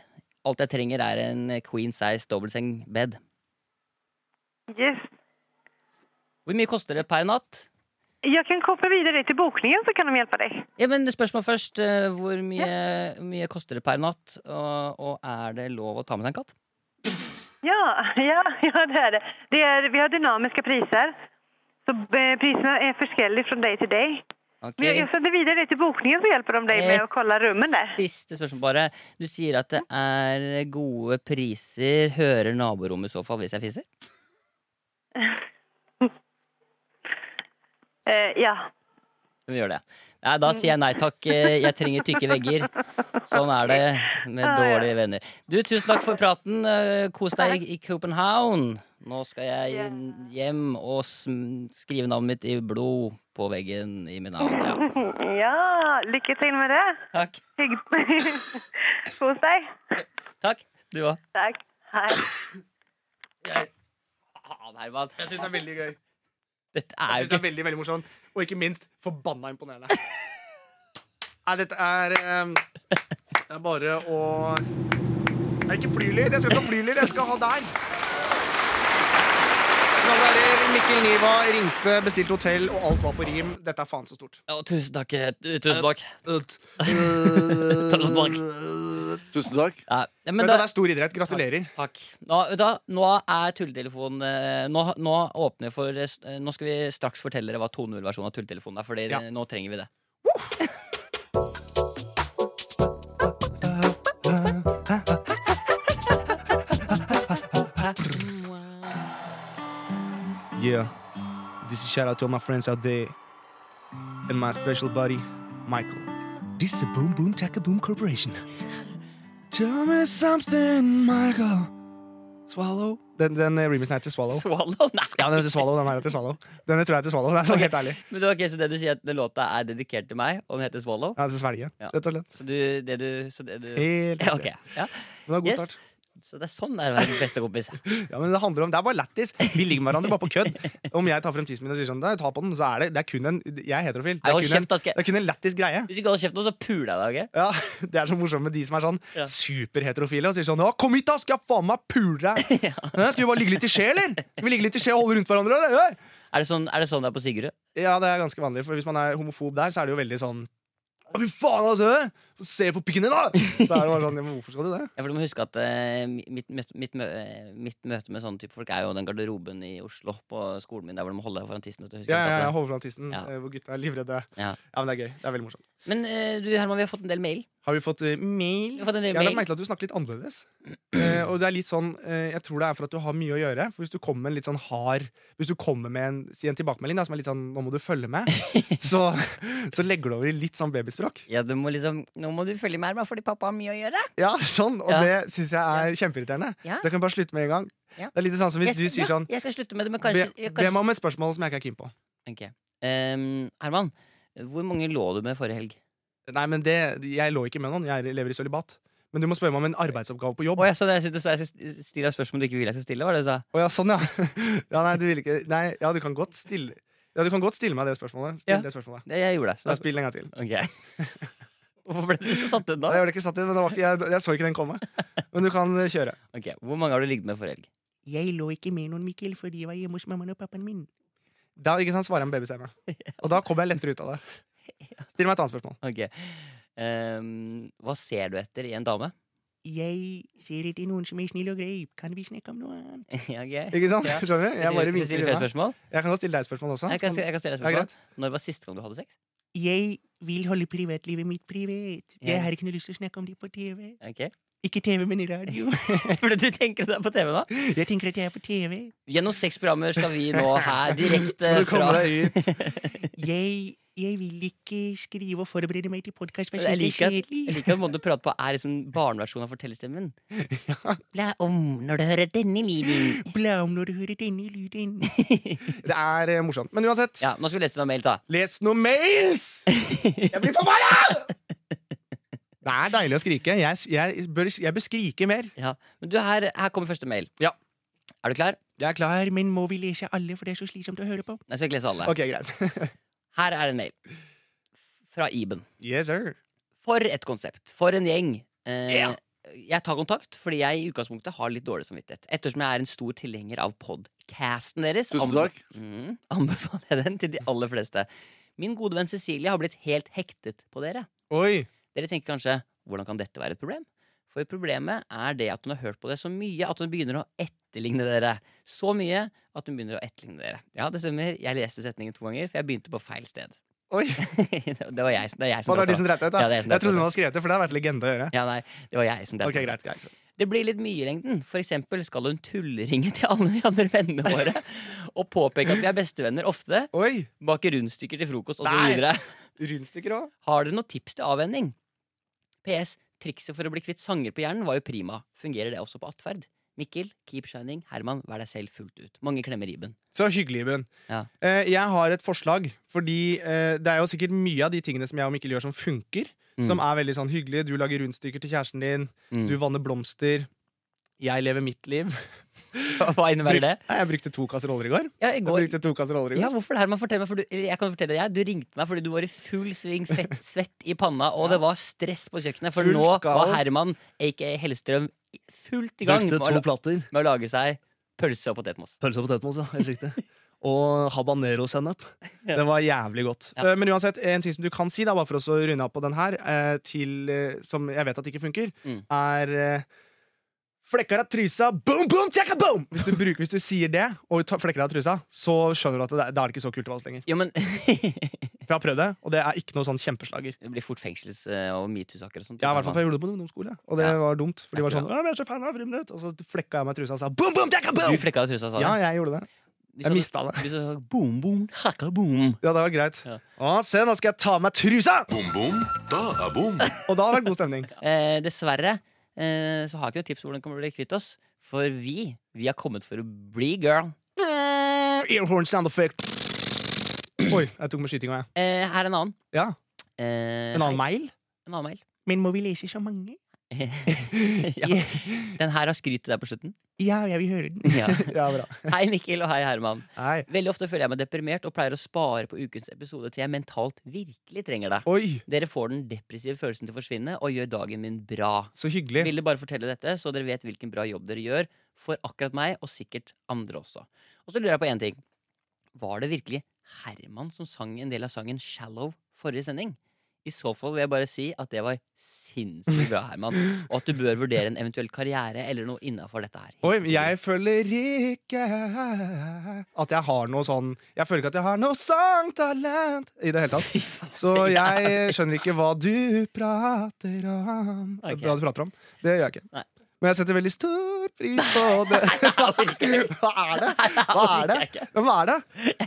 Speaker 3: Alt jeg trenger, er en queen size dobbeltseng-bed.
Speaker 6: yes.
Speaker 3: Hvor mye koster det per natt?
Speaker 6: Jeg kan koble videre til bokningen, så kan de hjelpe deg.
Speaker 3: Ja, men Spørsmål først. eh, Hvor mye, mye koster det per natt? Og, og er det lov å ta med seg en katt?
Speaker 6: Ja, ja, ja det er det. det er, vi har dynamiske priser. Så eh, prisene er forskjellige fra deg til deg. Men jeg,
Speaker 3: Ok.
Speaker 6: jeg sender videre til bokningen, så hjelper de deg med å kolla rommet der.
Speaker 3: Eh, Siste spørsmål, bare. Du sier at det er gode priser. Hører naborommet i så fall hvis jeg fiser?
Speaker 6: Eh, ja.
Speaker 3: Vi gjør det. Nei, da sier jeg nei takk. Eh, Jeg trenger tykke vegger. Sånn er det med
Speaker 6: Ja, ja.
Speaker 3: dårlige venner. Du, tusen takk for praten. Eh, Kos deg i Copenhagen. Nå skal jeg hjem og sm- skrive navnet mitt i blod på veggen i mitt navn. Ja.
Speaker 6: Mm, ja. Lykke til med det.
Speaker 3: Takk.
Speaker 6: Hygg- Kos deg.
Speaker 3: Takk. Du òg.
Speaker 6: Takk. Hei.
Speaker 3: Jeg- Faen, Herman.
Speaker 2: Jeg syns det er veldig gøy.
Speaker 3: Dette
Speaker 2: Jeg
Speaker 3: er
Speaker 2: synes det
Speaker 3: jo
Speaker 2: er veldig, veldig morsomt Og ikke minst forbanna imponerende. Nei, dette er eh, Det er bare å Det er ikke flylyd. Jeg skal ikke ha flylyd, jeg skal ha der. Knallværer, Mikkel Niva ringte, bestilte hotell, og alt var på rim. Dette er faen så stort.
Speaker 3: Å, Tusen takk. eh, Tusen takk.
Speaker 2: Tusen
Speaker 3: takk.
Speaker 7: Tusen takk.
Speaker 3: Ja, men
Speaker 2: Men
Speaker 3: da,
Speaker 2: det er stor idrett. Gratulerer.
Speaker 3: Takk. Nå, vet du hva? nå er tulletelefonen eh, nå, nå åpner jeg for eh, s- eh, Nå skal vi straks fortelle dere hva 2.0-versjonen av tulletelefonen er, Fordi
Speaker 2: Ja.
Speaker 3: eh, nå trenger vi det.
Speaker 2: Yeah. This is shout out to all my friends out there. And my special buddy, Michael. This is a Boom Boom Taka Boom Corporation. Tell me something, Michael. Swallow. Den, den eh, remixen heter Swallow.
Speaker 3: Swallow? Nei!
Speaker 2: Ja, den heter Swallow. Den her heter Swallow. Den tror jeg heter Swallow. Det er sånn helt ærlig.
Speaker 3: Men du, ok, så det du sier at den låta er dedikert til meg, og den heter Swallow?
Speaker 2: Ja, til Sverige,
Speaker 3: Ja.
Speaker 2: rett og slett.
Speaker 3: Så du, det du, så det du
Speaker 2: Helt
Speaker 3: Ja,
Speaker 2: riktig.
Speaker 3: ok. ja.
Speaker 2: Men det var god
Speaker 3: Yes.
Speaker 2: start.
Speaker 3: Så det er sånn det er å være beste kompis.
Speaker 2: Ja, men Det handler om, det er bare lættis. Vi ligger med hverandre bare på kødd. Om jeg tar frem tissen min og sier sånn, «Nei, ta på den, så er det, det er kun en Jeg er heterofil. Det
Speaker 3: Nei,
Speaker 2: er
Speaker 3: hold
Speaker 2: kun en,
Speaker 3: kjeft, da skal
Speaker 2: det
Speaker 3: jeg
Speaker 2: er kun en lættis greie.
Speaker 3: Hvis du ikke holder kjeft nå, så puler jeg deg. ok?
Speaker 2: Ja, Det er så morsomt med de som er sånn
Speaker 3: Ja.
Speaker 2: superheterofile og sier sånn Ja, kom hit, da! Skal jeg faen meg pule deg! Ja, Skal vi bare ligge litt i skje, eller? Skal vi ligge litt i skje og holde rundt hverandre, eller?
Speaker 3: Er det sånn er det sånn det er på Sigrud?
Speaker 2: Ja, Ja, det er ganske vanlig, for hvis man er homofob der, så er det jo veldig sånn «Å, Fy faen, altså! Få Se på pikken din, da! Så er det bare sånn, ja, men Hvorfor skal du det?
Speaker 3: Ja, for du må huske at eh, mitt, møte- mitt, mø- eh, mitt møte med sånne type folk er jo den garderoben i Oslo på skolen min der hvor de må holde deg foran tissen. vet du. Husker
Speaker 2: Ja,
Speaker 3: du
Speaker 2: ja,
Speaker 3: at
Speaker 2: ja,
Speaker 3: det-
Speaker 2: Hoveflant tissen,
Speaker 3: Ja.
Speaker 2: eh, hvor gutta er livredde.
Speaker 3: Ja.
Speaker 2: Ja, men det er gøy. Det er veldig morsomt.
Speaker 3: Men eh, du, Herman, vi har fått en del mail.
Speaker 2: Har vi fått eh, mail?
Speaker 3: Vi har fått en del
Speaker 2: Jeg har lagt
Speaker 3: mail.
Speaker 2: merke til at du snakker litt annerledes. Eh, og det er litt sånn, eh, Jeg tror det er for at du har mye å gjøre. For Hvis du kommer med en litt sånn hard Hvis du kommer med en, si en tilbakemelding da, som er litt sånn 'nå må du følge med', så, så legger du over i litt sånn babyspråk.
Speaker 3: Ja, du må liksom, Nå må du følge med, Herman, fordi pappa har mye å gjøre.
Speaker 2: Ja, sånn, Og
Speaker 3: Ja.
Speaker 2: det syns jeg er kjempeirriterende.
Speaker 3: Ja.
Speaker 2: Så jeg kan bare slutte med en gang.
Speaker 3: Ja.
Speaker 2: Det er litt det samme som hvis
Speaker 3: Jeg
Speaker 2: du
Speaker 3: skal-
Speaker 2: sier sånn
Speaker 3: ja, Jeg skal slutte med det, men
Speaker 2: be,
Speaker 3: kanskje, ja,
Speaker 2: be meg
Speaker 3: kanskje.
Speaker 2: om et spørsmål som jeg ikke er keen på.
Speaker 3: Ok. Ehm, Herman, hvor mange lå du med forrige helg?
Speaker 2: Nei, men det, Jeg lå ikke med noen. Jeg lever i sølibat. Men du må spørre meg om en arbeidsoppgave på jobb.
Speaker 3: Å, jeg, så jeg, synes du sa jeg skal stille spørsmål du ikke vil jeg skal stille? var det du sa?
Speaker 2: Å ja, sånn, ja. ja, nei, du vil ikke Nei, ja, du kan godt stille Ja, du kan godt stille meg det spørsmålet. Still
Speaker 3: Ja.
Speaker 2: det spørsmålet.
Speaker 3: Det jeg gjorde det. Så
Speaker 2: Da
Speaker 3: da,
Speaker 2: spill en gang til.
Speaker 3: ok. Hvorfor ble du så satt ut
Speaker 2: Nei,
Speaker 3: nå?
Speaker 2: Jeg, ble ikke satt i, men det var ikke, jeg, jeg så ikke den komme. Men du kan eh, kjøre.
Speaker 3: Ok, Hvor mange har du ligget med forrige helg?
Speaker 2: Jeg lå ikke med noen Mikkel fordi jeg var hjemme hos mammaen og pappaen min. Da ikke sant, svarer jeg med babystemme. Og da kommer jeg lettere ut av det. Still meg et annet spørsmål.
Speaker 3: Ok. Ehm, hva ser du etter i en dame?
Speaker 2: Jeg ser etter noen som er snill og grei. Kan vi snakke om noe annet?
Speaker 3: Ja, ok.
Speaker 2: Ikke sant?
Speaker 3: Ja.
Speaker 2: Skjønner du? Jeg bare
Speaker 3: Skal jeg
Speaker 2: vinker
Speaker 3: stille flere
Speaker 2: unna.
Speaker 3: spørsmål?
Speaker 2: Jeg kan godt stille deg et spørsmål også.
Speaker 3: Jeg kan, jeg kan stille deg
Speaker 2: Ja, greit.
Speaker 3: spørsmål. Når var siste gang du hadde sex?
Speaker 2: Jeg vil holde privatlivet mitt privat.
Speaker 3: Jeg Ja. har
Speaker 2: ikke noe lyst til å snakke om det på TV.
Speaker 3: Ok.
Speaker 2: Ikke TV, men i radio.
Speaker 3: Fordi du tenker det er på TV nå?
Speaker 2: Jeg tenker at jeg er på TV.
Speaker 3: Gjennom seks programmer skal vi nå her direkte
Speaker 2: Så du
Speaker 3: fra
Speaker 2: kommer deg ut. Jeg, vil ikke skrive og forberede meg til podkast.
Speaker 3: Jeg liker, at, jeg liker at måten du prater på, er liksom barneversjonen av fortellerstemmen. Bla om når du hører denne lyden.
Speaker 2: Bla om når du hører denne lyden. Det er eh, morsomt. Men uansett,
Speaker 3: Ja, nå skal vi lese noen mail, da.
Speaker 2: les noen mails! Jeg blir forbanna! Det er deilig å skrike. Jeg, jeg, bør, jeg bør skrike mer.
Speaker 3: Men du, her, her kommer første mail.
Speaker 2: Ja.
Speaker 3: Er du klar?
Speaker 2: Jeg er klar, men må vi lese alle, for det er så slitsomt å høre på?
Speaker 3: Jeg skal ikke lese alle.
Speaker 2: Ok, greit.
Speaker 3: Her er en mail. Fra Iben.
Speaker 2: Yes, sir.
Speaker 3: For et konsept. For en gjeng. Eh,
Speaker 2: Ja.
Speaker 3: Jeg tar kontakt fordi jeg i utgangspunktet har litt dårlig samvittighet. Ettersom jeg er en stor tilhenger av podcasten deres.
Speaker 7: Tusen
Speaker 3: anbe-
Speaker 7: takk.
Speaker 3: Mm, anbefaler jeg den til de aller fleste. Min gode venn Cecilie har blitt helt hektet på dere.
Speaker 2: Oi.
Speaker 3: Dere tenker kanskje hvordan kan dette være et problem? For problemet er det at hun har hørt på det så mye at hun begynner å etterligne dere. Så mye at hun begynner å etterligne dere. Ja, det stemmer. Jeg leste setningen to ganger, for jeg begynte på feil sted.
Speaker 2: Oi.
Speaker 3: det var jeg, det er
Speaker 2: Hva,
Speaker 3: jeg som
Speaker 2: det er de som dreit deg ut, da?
Speaker 3: Ja, det er jeg
Speaker 2: jeg
Speaker 3: som dreit
Speaker 2: trodde
Speaker 3: meg ut.
Speaker 2: hun hadde skrevet det, for det har vært legende å gjøre.
Speaker 3: Ja, nei, det var jeg som
Speaker 2: Ok,
Speaker 3: delte.
Speaker 2: greit, greit.
Speaker 3: Det blir litt mye i lengden. For eksempel skal hun tulleringe til alle de andre vennene våre og påpeke at vi er bestevenner ofte,
Speaker 2: Oi!
Speaker 3: bake rundstykker til frokost
Speaker 2: Nei.
Speaker 3: osv.
Speaker 2: Rundstykker òg.
Speaker 3: Har dere noen tips til avvenning? PS. Trikset for å bli kvitt sanger på hjernen var jo prima. Fungerer det også på atferd? Mikkel, keep shining. Herman, vær deg selv fullt ut. Mange klemmer Iben.
Speaker 2: Så hyggelig, Ibun.
Speaker 3: Ja.
Speaker 2: Eh, jeg har et forslag, fordi eh, det er jo sikkert mye av de tingene som jeg og Mikkel gjør, som funker.
Speaker 3: Mm.
Speaker 2: Som er veldig sånn hyggelige. Du lager rundstykker til kjæresten din,
Speaker 3: Mm.
Speaker 2: du vanner blomster. Jeg lever mitt liv.
Speaker 3: Hva innebærer det?
Speaker 2: Nei, jeg brukte to kasseroller i går.
Speaker 3: Ja, i
Speaker 2: Jeg
Speaker 3: går,
Speaker 2: brukte to kasseroller i
Speaker 3: ja,
Speaker 2: går.
Speaker 3: hvorfor det her? Man fortell meg, for du, jeg kan fortelle deg, jeg. du ringte meg fordi du var i full sving, fett, svett i panna, og det var stress på kjøkkenet, for
Speaker 2: Fullt
Speaker 3: nå var
Speaker 2: kaos.
Speaker 3: Herman, aka Hellstrøm, i- fullt i gang med
Speaker 2: brukte
Speaker 3: å,
Speaker 2: to
Speaker 3: la-
Speaker 2: plater.
Speaker 3: med å lage seg pølse og potetmos.
Speaker 2: Pølse og potetmos, ja. Helt riktig. Og habanero-sennep.
Speaker 3: Ja.
Speaker 2: Det var jævlig godt.
Speaker 3: Ja.
Speaker 2: Eh, Men uansett, en ting som du kan si, da, bare for oss å runde av på den her, eh, til, eh, som jeg vet at ikke funker,
Speaker 3: Mm.
Speaker 2: er eh, Flekker av trusa, boom, boom, tjekka, boom! Hvis du, bruker, hvis du sier det, og ta- flekker av trusa, så skjønner du at det, da er det ikke så kult til oss lenger.
Speaker 3: Jo, men Det
Speaker 2: For jeg har prøvd det, og det er ikke noe sånn kjempeslager.
Speaker 3: blir fort fengsels- eh, og metoo-saker og sånt.
Speaker 2: Ja, i hvert fall for jeg gjorde det på en ungdomsskole, og det
Speaker 3: Ja.
Speaker 2: var dumt. For de var
Speaker 3: Det er
Speaker 2: sånn «Å, men 'Jeg er så fan av Friminutt', og så flekka jeg meg i trusa og sa boom, boom, tjekka,
Speaker 3: Du
Speaker 2: boom!
Speaker 3: flekka av trusa, sa du?
Speaker 2: Ja, jeg gjorde det.
Speaker 3: Hvis
Speaker 2: Jeg
Speaker 3: du-
Speaker 2: mista det.
Speaker 3: Hvis du sa boom, boom, hakka, boom.
Speaker 2: Ja, det var greit.
Speaker 3: Ja.
Speaker 2: Å, se, nå skal jeg ta av meg trusa!
Speaker 1: Boom, boom, da er boom.
Speaker 2: Og da hadde det vært god stemning.
Speaker 3: Eh, dessverre eh, så har jeg ikke noe tips på hvordan vi kan bli kvitt oss. For vi, vi har kommet for å bli girl.
Speaker 2: Mm, Earhorn sound effect. Oi, jeg tok med skytinga, jeg.
Speaker 3: Eh, her er en annen.
Speaker 2: Ja.
Speaker 3: Eh,
Speaker 2: En annen
Speaker 3: hei,
Speaker 2: mail?
Speaker 3: En annen mail.
Speaker 2: Min mobil leser så mange.
Speaker 3: ja. Den her har skryt til deg på slutten.
Speaker 2: Ja, jeg vil høre den.
Speaker 3: Ja.
Speaker 2: Ja, bra.
Speaker 3: Hei, Mikkel, og hei, Herman.
Speaker 2: Hei.
Speaker 3: Veldig ofte føler jeg meg deprimert og pleier å spare på ukens episode til jeg mentalt virkelig trenger deg.
Speaker 2: Oi,
Speaker 3: Dere får den depressive følelsen til å forsvinne og gjør dagen min bra.
Speaker 2: så hyggelig.
Speaker 3: ville bare fortelle dette, så dere vet hvilken bra jobb dere gjør for akkurat meg, og sikkert andre også. Og så lurer jeg på én ting. Var det virkelig Herman som sang en del av sangen Shallow forrige sending? I så fall vil jeg bare si at det var sinnssykt bra, Herman, og at du bør vurdere en eventuell karriere eller noe innafor dette her.
Speaker 2: Oi, jeg føler ikke at jeg har noe sånn Jeg føler ikke at jeg har noe sangtalent i det hele tatt. Så jeg skjønner ikke hva du prater om.
Speaker 3: Ok.
Speaker 2: Hva du prater om. Det gjør jeg ikke.
Speaker 3: Nei.
Speaker 2: Men jeg setter veldig stor pris på det. Hva er det? Hva er det? Men Hva er det?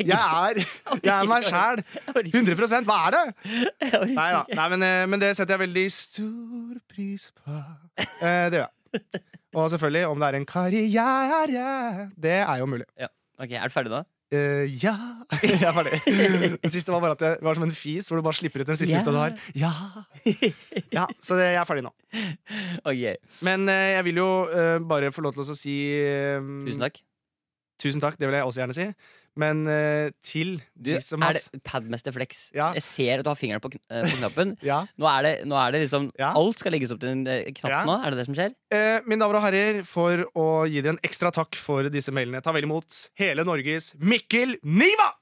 Speaker 2: Jeg er, jeg er meg sjæl. 100 Hva er det? Nei da. Nei, men, eh, men det setter jeg veldig stor pris på. Eh, det gjør jeg. Og selvfølgelig, om det er en karriere Det er jo mulig.
Speaker 3: Ok, Er du ferdig nå?
Speaker 2: Eh, ja Jeg er ferdig. Den siste var bare at det var som en fis hvor du bare slipper ut den siste
Speaker 3: Ja.
Speaker 2: lufta du har. Ja. ja Så det, jeg er ferdig nå.
Speaker 3: Ok,
Speaker 2: Men eh, jeg vil jo eh, bare få lov til å si eh,
Speaker 3: Tusen takk.
Speaker 2: tusen takk. Det vil jeg også gjerne si. Men eh, til
Speaker 3: Du,
Speaker 2: de som har
Speaker 3: er det Padmaster Flex?
Speaker 2: Ja.
Speaker 3: Jeg ser at du har fingeren på, kn eh, på knappen.
Speaker 2: Ja.
Speaker 3: Nå er det, nå er det liksom
Speaker 2: Ja.
Speaker 3: Alt skal legges opp til en eh, knapp
Speaker 2: Ja.
Speaker 3: nå? Er det det som skjer?
Speaker 2: Eh, mine damer og herrer, for å gi dere en ekstra takk for disse mailene, ta vel imot hele Norges Mikkel Niva!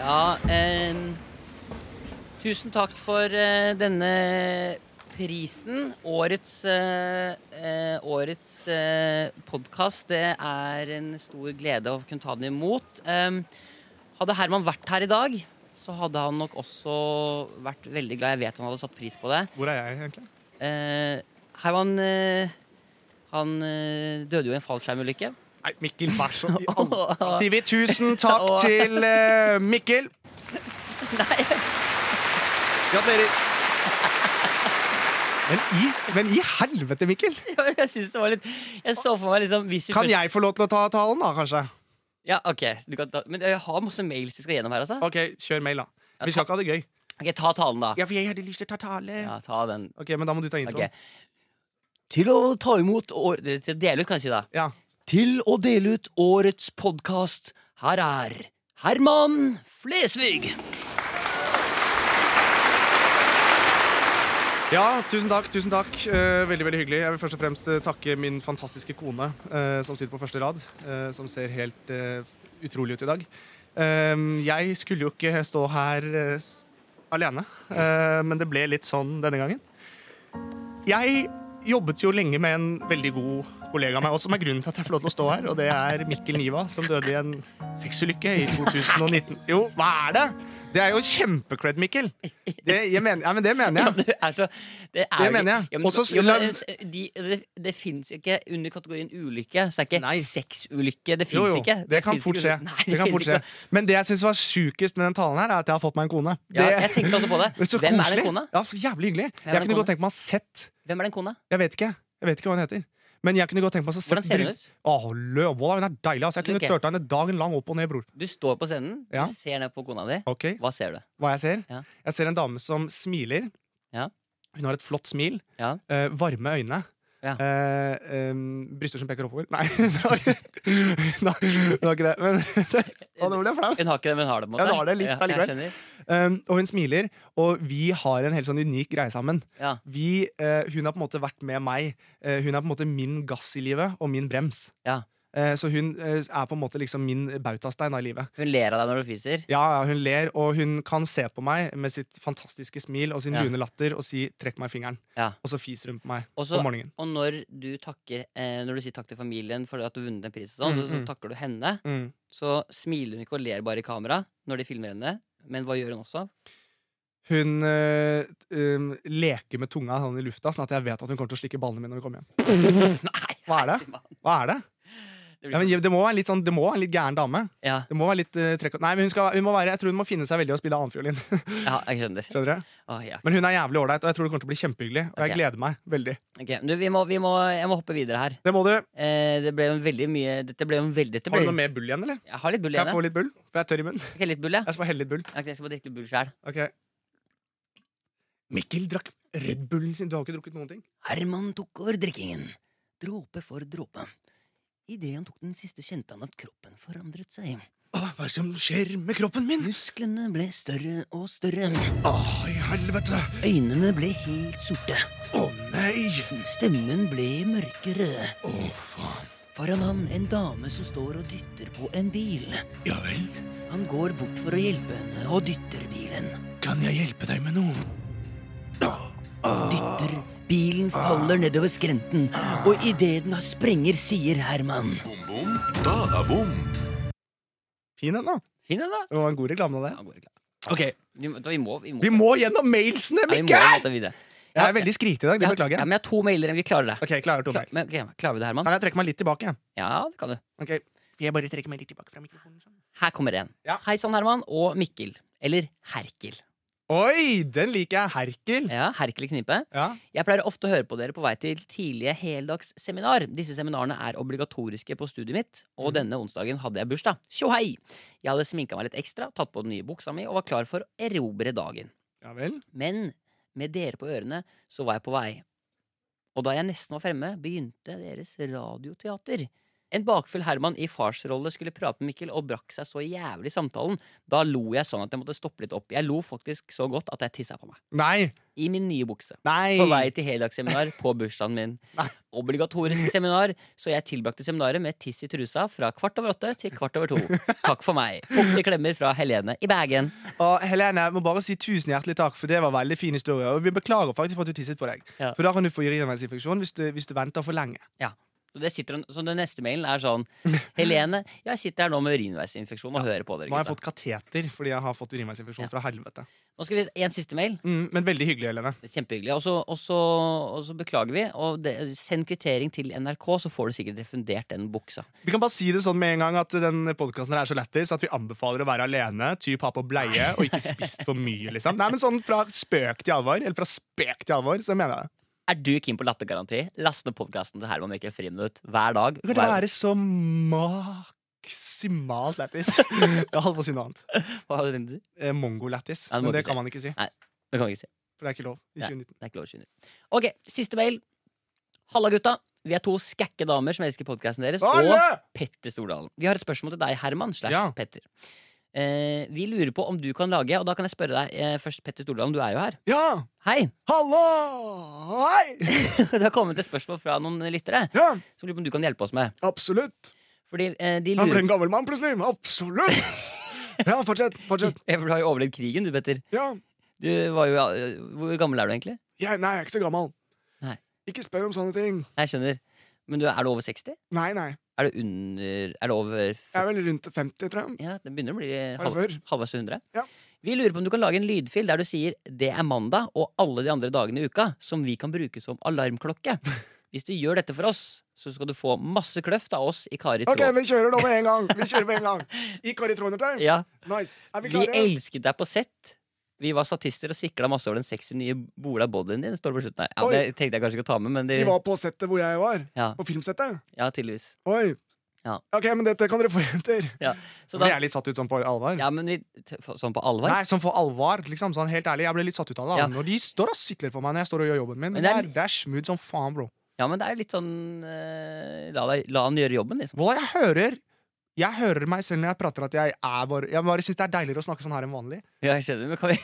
Speaker 3: Ja em, Tusen takk for eh, denne prisen. Årets, eh, eh, årets eh, podkast. Det er en stor glede å kunne ta den imot. Em, hadde Herman vært her i dag, så hadde han nok også vært veldig glad. Jeg vet han hadde satt pris på det.
Speaker 2: Hvor er jeg egentlig?
Speaker 3: Eh, Herman eh, han eh, døde jo i en fallskjermulykke.
Speaker 2: Nei, Mikkel, vær så i alle- Da sier vi tusen takk til eh, Mikkel. Gratulerer. Men i, men i helvete, Mikkel!
Speaker 3: Jeg synes det var litt Jeg så for meg liksom hvis vi
Speaker 2: Kan
Speaker 3: først-
Speaker 2: jeg få lov til å ta talen, da, kanskje?
Speaker 3: Ja, ok du kan ta, Men jeg har masse mails vi skal gjennom her, altså.
Speaker 2: OK, kjør mail, da. Vi skal ikke ha det gøy.
Speaker 3: Ok, Ta talen, da.
Speaker 2: Ja, for jeg hadde lyst til å ta tale.
Speaker 3: Ja, ta den.
Speaker 2: OK, men da må du ta
Speaker 3: Ok.
Speaker 2: introen.
Speaker 3: Til å ta imot år... Til å dele ut, kan jeg si, da.
Speaker 2: Ja.
Speaker 3: Til å dele ut årets podkast. Her er Herman Flesvig.
Speaker 2: Ja, tusen takk. tusen takk Eh, Veldig veldig hyggelig. Jeg vil først og fremst eh, takke min fantastiske kone, eh, som sitter på første rad, eh, som ser helt eh, utrolig ut i dag. Ehm, jeg skulle jo ikke stå her eh, s- alene, eh, men det ble litt sånn denne gangen. Jeg jobbet jo lenge med en veldig god kollega av meg, og som er grunnen til at jeg får lov til å stå her, og det er Mikkel Niva, som døde i en sexulykke i 2019. Jo, hva er det?! Det er jo kjempecred, Mikkel. Det, jeg mener, ja, men det mener jeg.
Speaker 3: Det er så Det, er
Speaker 2: Det
Speaker 3: jo ikke-
Speaker 2: mener jeg.
Speaker 3: Ja, men,
Speaker 2: Også-
Speaker 3: jo, men, de, det det fins ikke under kategorien ulykke. Så er ikke
Speaker 2: Nei.
Speaker 3: sexulykke.
Speaker 2: Jo,
Speaker 3: Det fins
Speaker 2: jo,
Speaker 3: ikke.
Speaker 2: det kan
Speaker 3: finnes
Speaker 2: fort
Speaker 3: ikke-
Speaker 2: skje.
Speaker 3: Nei,
Speaker 2: Det kan
Speaker 3: finnes
Speaker 2: fort
Speaker 3: ikke.
Speaker 2: skje. Men det jeg syns var sjukest med den talen, her er at jeg har fått meg en kone.
Speaker 3: Ja,
Speaker 2: Det-
Speaker 3: jeg tenkte også på det.
Speaker 2: det så
Speaker 3: Hvem er
Speaker 2: koselig.
Speaker 3: den kona?
Speaker 2: Ja, for jævlig hyggelig.
Speaker 3: er den
Speaker 2: Jeg kunne
Speaker 3: kona?
Speaker 2: godt tenkt meg å ha sett
Speaker 3: Hvem er den kona?
Speaker 2: Jeg vet ikke Jeg vet ikke hva hun heter. Men jeg kunne godt tenkt meg å ha sett
Speaker 3: Hvordan ser hun
Speaker 2: bru-
Speaker 3: ut?
Speaker 2: Å, Løvold, hun er deilig. Altså. Jeg kunne
Speaker 3: Ok.
Speaker 2: tørt henne dagen lang opp og ned, bror.
Speaker 3: Du står på scenen,
Speaker 2: Ja.
Speaker 3: du ser ned på kona di.
Speaker 2: Ok,
Speaker 3: Hva ser du?
Speaker 2: Hva jeg ser?
Speaker 3: Ja.
Speaker 2: Jeg ser en dame som smiler.
Speaker 3: Ja.
Speaker 2: Hun har et flott smil.
Speaker 3: Ja.
Speaker 2: eh, varme øyne.
Speaker 3: Ja.
Speaker 2: eh, em, bryster som peker oppover. Nei, hun har hun har- hun har ikke det. Men Å, nå ble jeg flau.
Speaker 3: Hun har ikke det, men hun har det. på en
Speaker 2: Ja,
Speaker 3: måte.
Speaker 2: hun har det litt allikevel.
Speaker 3: jeg skjønner.
Speaker 2: Um, og hun smiler, og vi har en helt sånn unik greie sammen.
Speaker 3: Ja.
Speaker 2: Vi, eh, hun har på en måte vært med meg. Eh, hun er på en måte min gass i livet og min brems.
Speaker 3: Ja.
Speaker 2: Eh, så hun eh, er på en måte liksom min bautastein av livet.
Speaker 3: Hun ler av deg når du fiser.
Speaker 2: Ja, ja, Hun ler, og hun kan se på meg med sitt fantastiske smil og sin
Speaker 3: Ja.
Speaker 2: lune latter og si 'trekk meg i fingeren',
Speaker 3: Ja.
Speaker 2: og så fiser hun på meg
Speaker 3: Og så-
Speaker 2: om morgenen.
Speaker 3: Og når du, takker, eh, når du sier takk til familien for at du har vunnet en pris, og sånn,
Speaker 2: Mm,
Speaker 3: så, så
Speaker 2: mm.
Speaker 3: takker du henne,
Speaker 2: Mm.
Speaker 3: så smiler hun ikke og ler bare i kamera når de filmer henne. Men hva gjør hun også?
Speaker 2: Hun eh, um, leker med tunga sånn i lufta, sånn at jeg vet at hun kommer til å slikke ballene mine når vi kommer hjem.
Speaker 3: Nei,
Speaker 2: Hva er det?
Speaker 3: fy faen.
Speaker 2: Hva er det?
Speaker 3: Det
Speaker 2: Ja,
Speaker 3: blir
Speaker 2: men,
Speaker 3: sånn-
Speaker 2: det må være litt sånn, det må være en litt gæren dame.
Speaker 3: ja,
Speaker 2: Det må være litt eh, trekk Nei, men hun skal, hun må være, jeg tror hun må finne seg veldig i å spille annenfiolin.
Speaker 3: ja, jeg skjønner.
Speaker 2: Skjønner du?
Speaker 3: Åh, ja.
Speaker 2: Men hun er jævlig ålreit, og jeg tror det kommer til å bli kjempehyggelig. Og jeg
Speaker 3: Ok.
Speaker 2: gleder meg veldig.
Speaker 3: Ok, du, vi må, vi må, jeg må hoppe videre her.
Speaker 2: Det må du.
Speaker 3: Eh, det ble jo en veldig mye Dette ble jo en veldig dette
Speaker 2: Har
Speaker 3: ble,
Speaker 2: du noe mer bull igjen, eller?
Speaker 3: Jeg har litt bull
Speaker 2: Kan jeg
Speaker 3: igjen. jeg.
Speaker 2: få litt bull? For jeg er tørr i munnen.
Speaker 3: Ok, litt bull, ja.
Speaker 2: Jeg skal få helle litt bull.
Speaker 3: Ok, Jeg skal bare drikke litt bull sjæl.
Speaker 2: Ok. Mikkel drakk Red Bullen sin. Du har ikke drukket noen ting?
Speaker 3: Herman tok over drikkingen, dråpe for dråpe. Idet han tok den siste, kjente han at kroppen forandret seg.
Speaker 2: Åh, hva er det som skjer med kroppen min?
Speaker 3: Musklene ble større og større.
Speaker 2: Åh, i helvete.
Speaker 3: Øynene ble helt sorte.
Speaker 2: Å nei.
Speaker 3: Stemmen ble mørkere.
Speaker 2: Å faen.
Speaker 3: Foran han en dame som står og dytter på en bil.
Speaker 2: Ja vel.
Speaker 3: Han går bort for å hjelpe henne og dytter bilen.
Speaker 2: Kan jeg hjelpe deg med noe? Ah.
Speaker 3: Dytter. Bilen faller nedover skrenten, og idet den har sprenger, sier Herman.
Speaker 1: Boom, boom, da er bom.
Speaker 2: Fin en, da.
Speaker 3: Fin den, da.
Speaker 2: Det var en god reklame av det.
Speaker 3: Ja, går det klart. Vi må, vi må, vi må,
Speaker 2: Vi må gjennom mailsene,
Speaker 3: ja, vi må
Speaker 2: Mikkel!
Speaker 3: måtte videre.
Speaker 2: Jeg er veldig skritete i dag.
Speaker 3: Ja,
Speaker 2: Det beklager
Speaker 3: Ja,
Speaker 2: jeg.
Speaker 3: men jeg har to mailer igjen. Vi klarer det.
Speaker 2: Ok, klarer to
Speaker 3: Kla-
Speaker 2: mails.
Speaker 3: men, ok, klarer vi det, Herman?
Speaker 2: Kan jeg trekke meg litt tilbake?
Speaker 3: Ja, det kan du.
Speaker 2: Ok Vil jeg bare trekke meg litt tilbake fra mikrofonen? sånn?
Speaker 3: Her kommer en.
Speaker 2: Ja.
Speaker 3: Hei sann, Herman og Mikkel. Eller Herkel.
Speaker 2: Oi, den liker jeg! Herkel.
Speaker 3: Ja, Herkel i knipe.
Speaker 2: Ja.
Speaker 3: Jeg pleier ofte å høre på dere på vei til tidlige heldagsseminar. Disse seminarene er obligatoriske på studiet mitt, og denne onsdagen hadde jeg bursdag. Tjohei! Jeg hadde sminka meg litt ekstra, tatt på den nye buksa mi og var klar for å erobre dagen.
Speaker 2: ja vel.
Speaker 3: Men med dere på ørene, så var jeg på vei. Og da jeg nesten var fremme, begynte deres radioteater. En bakfull Herman i farsrolle skulle prate med Mikkel og brakk seg så jævlig i samtalen. Da lo jeg sånn at jeg måtte stoppe litt opp. Jeg lo faktisk så godt at jeg tissa på meg.
Speaker 2: Nei!
Speaker 3: I min nye bukse.
Speaker 2: Nei!
Speaker 3: På vei til heldagsseminar på bursdagen min.
Speaker 2: Nei.
Speaker 3: Obligatorisk seminar, så jeg tilbrakte seminaret med tiss i trusa fra kvart over åtte til kvart over to. Takk for meg. Fuktige klemmer fra Helene i Bergen.
Speaker 2: Og Helene, jeg må bare si tusen hjertelig takk, for det var veldig fin historie. Og vi beklager faktisk for at du tisset på deg.
Speaker 3: Ja.
Speaker 2: For da kan du få urinveisinfeksjon hvis, du- hvis du venter for lenge.
Speaker 3: Så, det sitter, hun- så den neste mailen er sånn Helene, jeg sitter her nå med urinveisinfeksjon og hører på dere.
Speaker 2: Nå har jeg
Speaker 3: gutta.»
Speaker 2: fått kateter fordi jeg har fått urinveisinfeksjon
Speaker 3: Ja.
Speaker 2: fra helvete.
Speaker 3: Nå skal vi en siste mail.
Speaker 2: Mm, men veldig hyggelig, Helene.
Speaker 3: Det er Kjempehyggelig. Og så- Og så og så beklager vi. Og det, send kvittering til NRK, så får du sikkert refundert den buksa.
Speaker 2: Vi kan bare si det sånn med en gang at den podkasten er så lættis at vi anbefaler å være alene, typ ha på bleie og ikke spist for mye, liksom. Nei, men sånn fra spøk til alvor, eller fra spek til alvor, så mener jeg det.
Speaker 3: Er du keen på lattergaranti? Last ned podkasten til Herman Mikkel Friminutt hver dag.
Speaker 2: Det kan
Speaker 3: hver-
Speaker 2: ikke være så maksimalt lættis. Jeg holdt på å si noe annet.
Speaker 3: Hva hadde den til?
Speaker 2: Eh, Mongo-lættis.
Speaker 3: Ja, det må
Speaker 2: Men det
Speaker 3: ikke
Speaker 2: kan
Speaker 3: si.
Speaker 2: man ikke si,
Speaker 3: Det kan vi ikke si.
Speaker 2: for det er ikke lov. i
Speaker 3: Nei.
Speaker 2: 2019.
Speaker 3: Det er ikke lov å skyne. Ok, siste mail. Halla, gutta. Vi er to skakke damer som elsker podkasten deres. Og
Speaker 2: Alle!
Speaker 3: Petter Stordalen. Vi har et spørsmål til deg, Herman slash
Speaker 2: Ja.
Speaker 3: Petter. Eh, vi lurer på om du kan lage, og da kan jeg spørre deg eh, først, Petter Stordalen, du er jo her.
Speaker 2: Ja!
Speaker 3: Hei!
Speaker 2: Hallo! Hei!
Speaker 3: Det har kommet et spørsmål fra noen lyttere
Speaker 2: Ja,
Speaker 3: som lurer på om du kan hjelpe oss med.
Speaker 2: absolutt.
Speaker 3: Fordi eh, de
Speaker 2: Han ble
Speaker 3: lurer
Speaker 2: en gammel mann plutselig. men Absolutt! Ja, fortsett. fortsett.
Speaker 3: Ja, For du har jo overlevd krigen, du, Petter.
Speaker 2: Ja,
Speaker 3: Du var jo, eh, hvor gammel er du egentlig?
Speaker 2: jeg, Nei, jeg er ikke så gammel.
Speaker 3: Nei.
Speaker 2: Ikke spør om sånne ting.
Speaker 3: Jeg skjønner. Men du, er du over 60?
Speaker 2: Nei, nei.
Speaker 3: Er du under Er du over
Speaker 2: Jeg er vel rundt 50, tror jeg.
Speaker 3: Ja, det begynner å bli
Speaker 2: Bare
Speaker 3: halv,
Speaker 2: før.
Speaker 3: halvveis til 100.
Speaker 2: Ja.
Speaker 3: Vi lurer på om du kan lage en lydfil der du sier 'det er mandag' og alle de andre dagene i uka, som vi kan bruke som alarmklokke. Hvis du gjør dette for oss, så skal du få masse kløft av oss i Kari
Speaker 2: Ok,
Speaker 3: Tråd.
Speaker 2: vi kjører nå med en gang. Vi kjører med en gang. I Kari Tronertime.
Speaker 3: Ja,
Speaker 2: Nice. Er vi
Speaker 3: vi
Speaker 2: klare?
Speaker 3: elsket deg på sett. Vi var statister og sikla masse over den sexy nye bola bodyen din. Står det på slutten her. Ja,
Speaker 2: Oi.
Speaker 3: det tenkte jeg kanskje ikke å ta med, men
Speaker 2: Vi
Speaker 3: det,
Speaker 2: var på settet hvor jeg var.
Speaker 3: Ja.
Speaker 2: På filmsettet.
Speaker 3: ja, tydeligvis.
Speaker 2: Oi.
Speaker 3: Ja.
Speaker 2: Ok, men dette kan dere få, jenter.
Speaker 3: Så
Speaker 2: ble
Speaker 3: da,
Speaker 2: jeg litt satt ut sånn på alvor.
Speaker 3: ja, men vi, t- f- sånn på alvor?
Speaker 2: Nei, sånn for alvor, liksom. Sånn helt ærlig, jeg ble litt satt ut av det. da.
Speaker 3: Ja.
Speaker 2: Når de står og sikler på meg når jeg står og gjør jobben min.
Speaker 3: Men
Speaker 2: Men
Speaker 3: det
Speaker 2: det
Speaker 3: er-
Speaker 2: er, det er smooth som faen, bro.
Speaker 3: Ja, men det er jo litt sånn eh, la, deg, la han gjøre jobben, liksom.
Speaker 2: Voila, jeg hører Jeg hører meg selv når jeg prater at jeg er bare Jeg bare syns det er deiligere å snakke sånn her enn vanlig.
Speaker 3: Ja, jeg skjønner, men kan vi,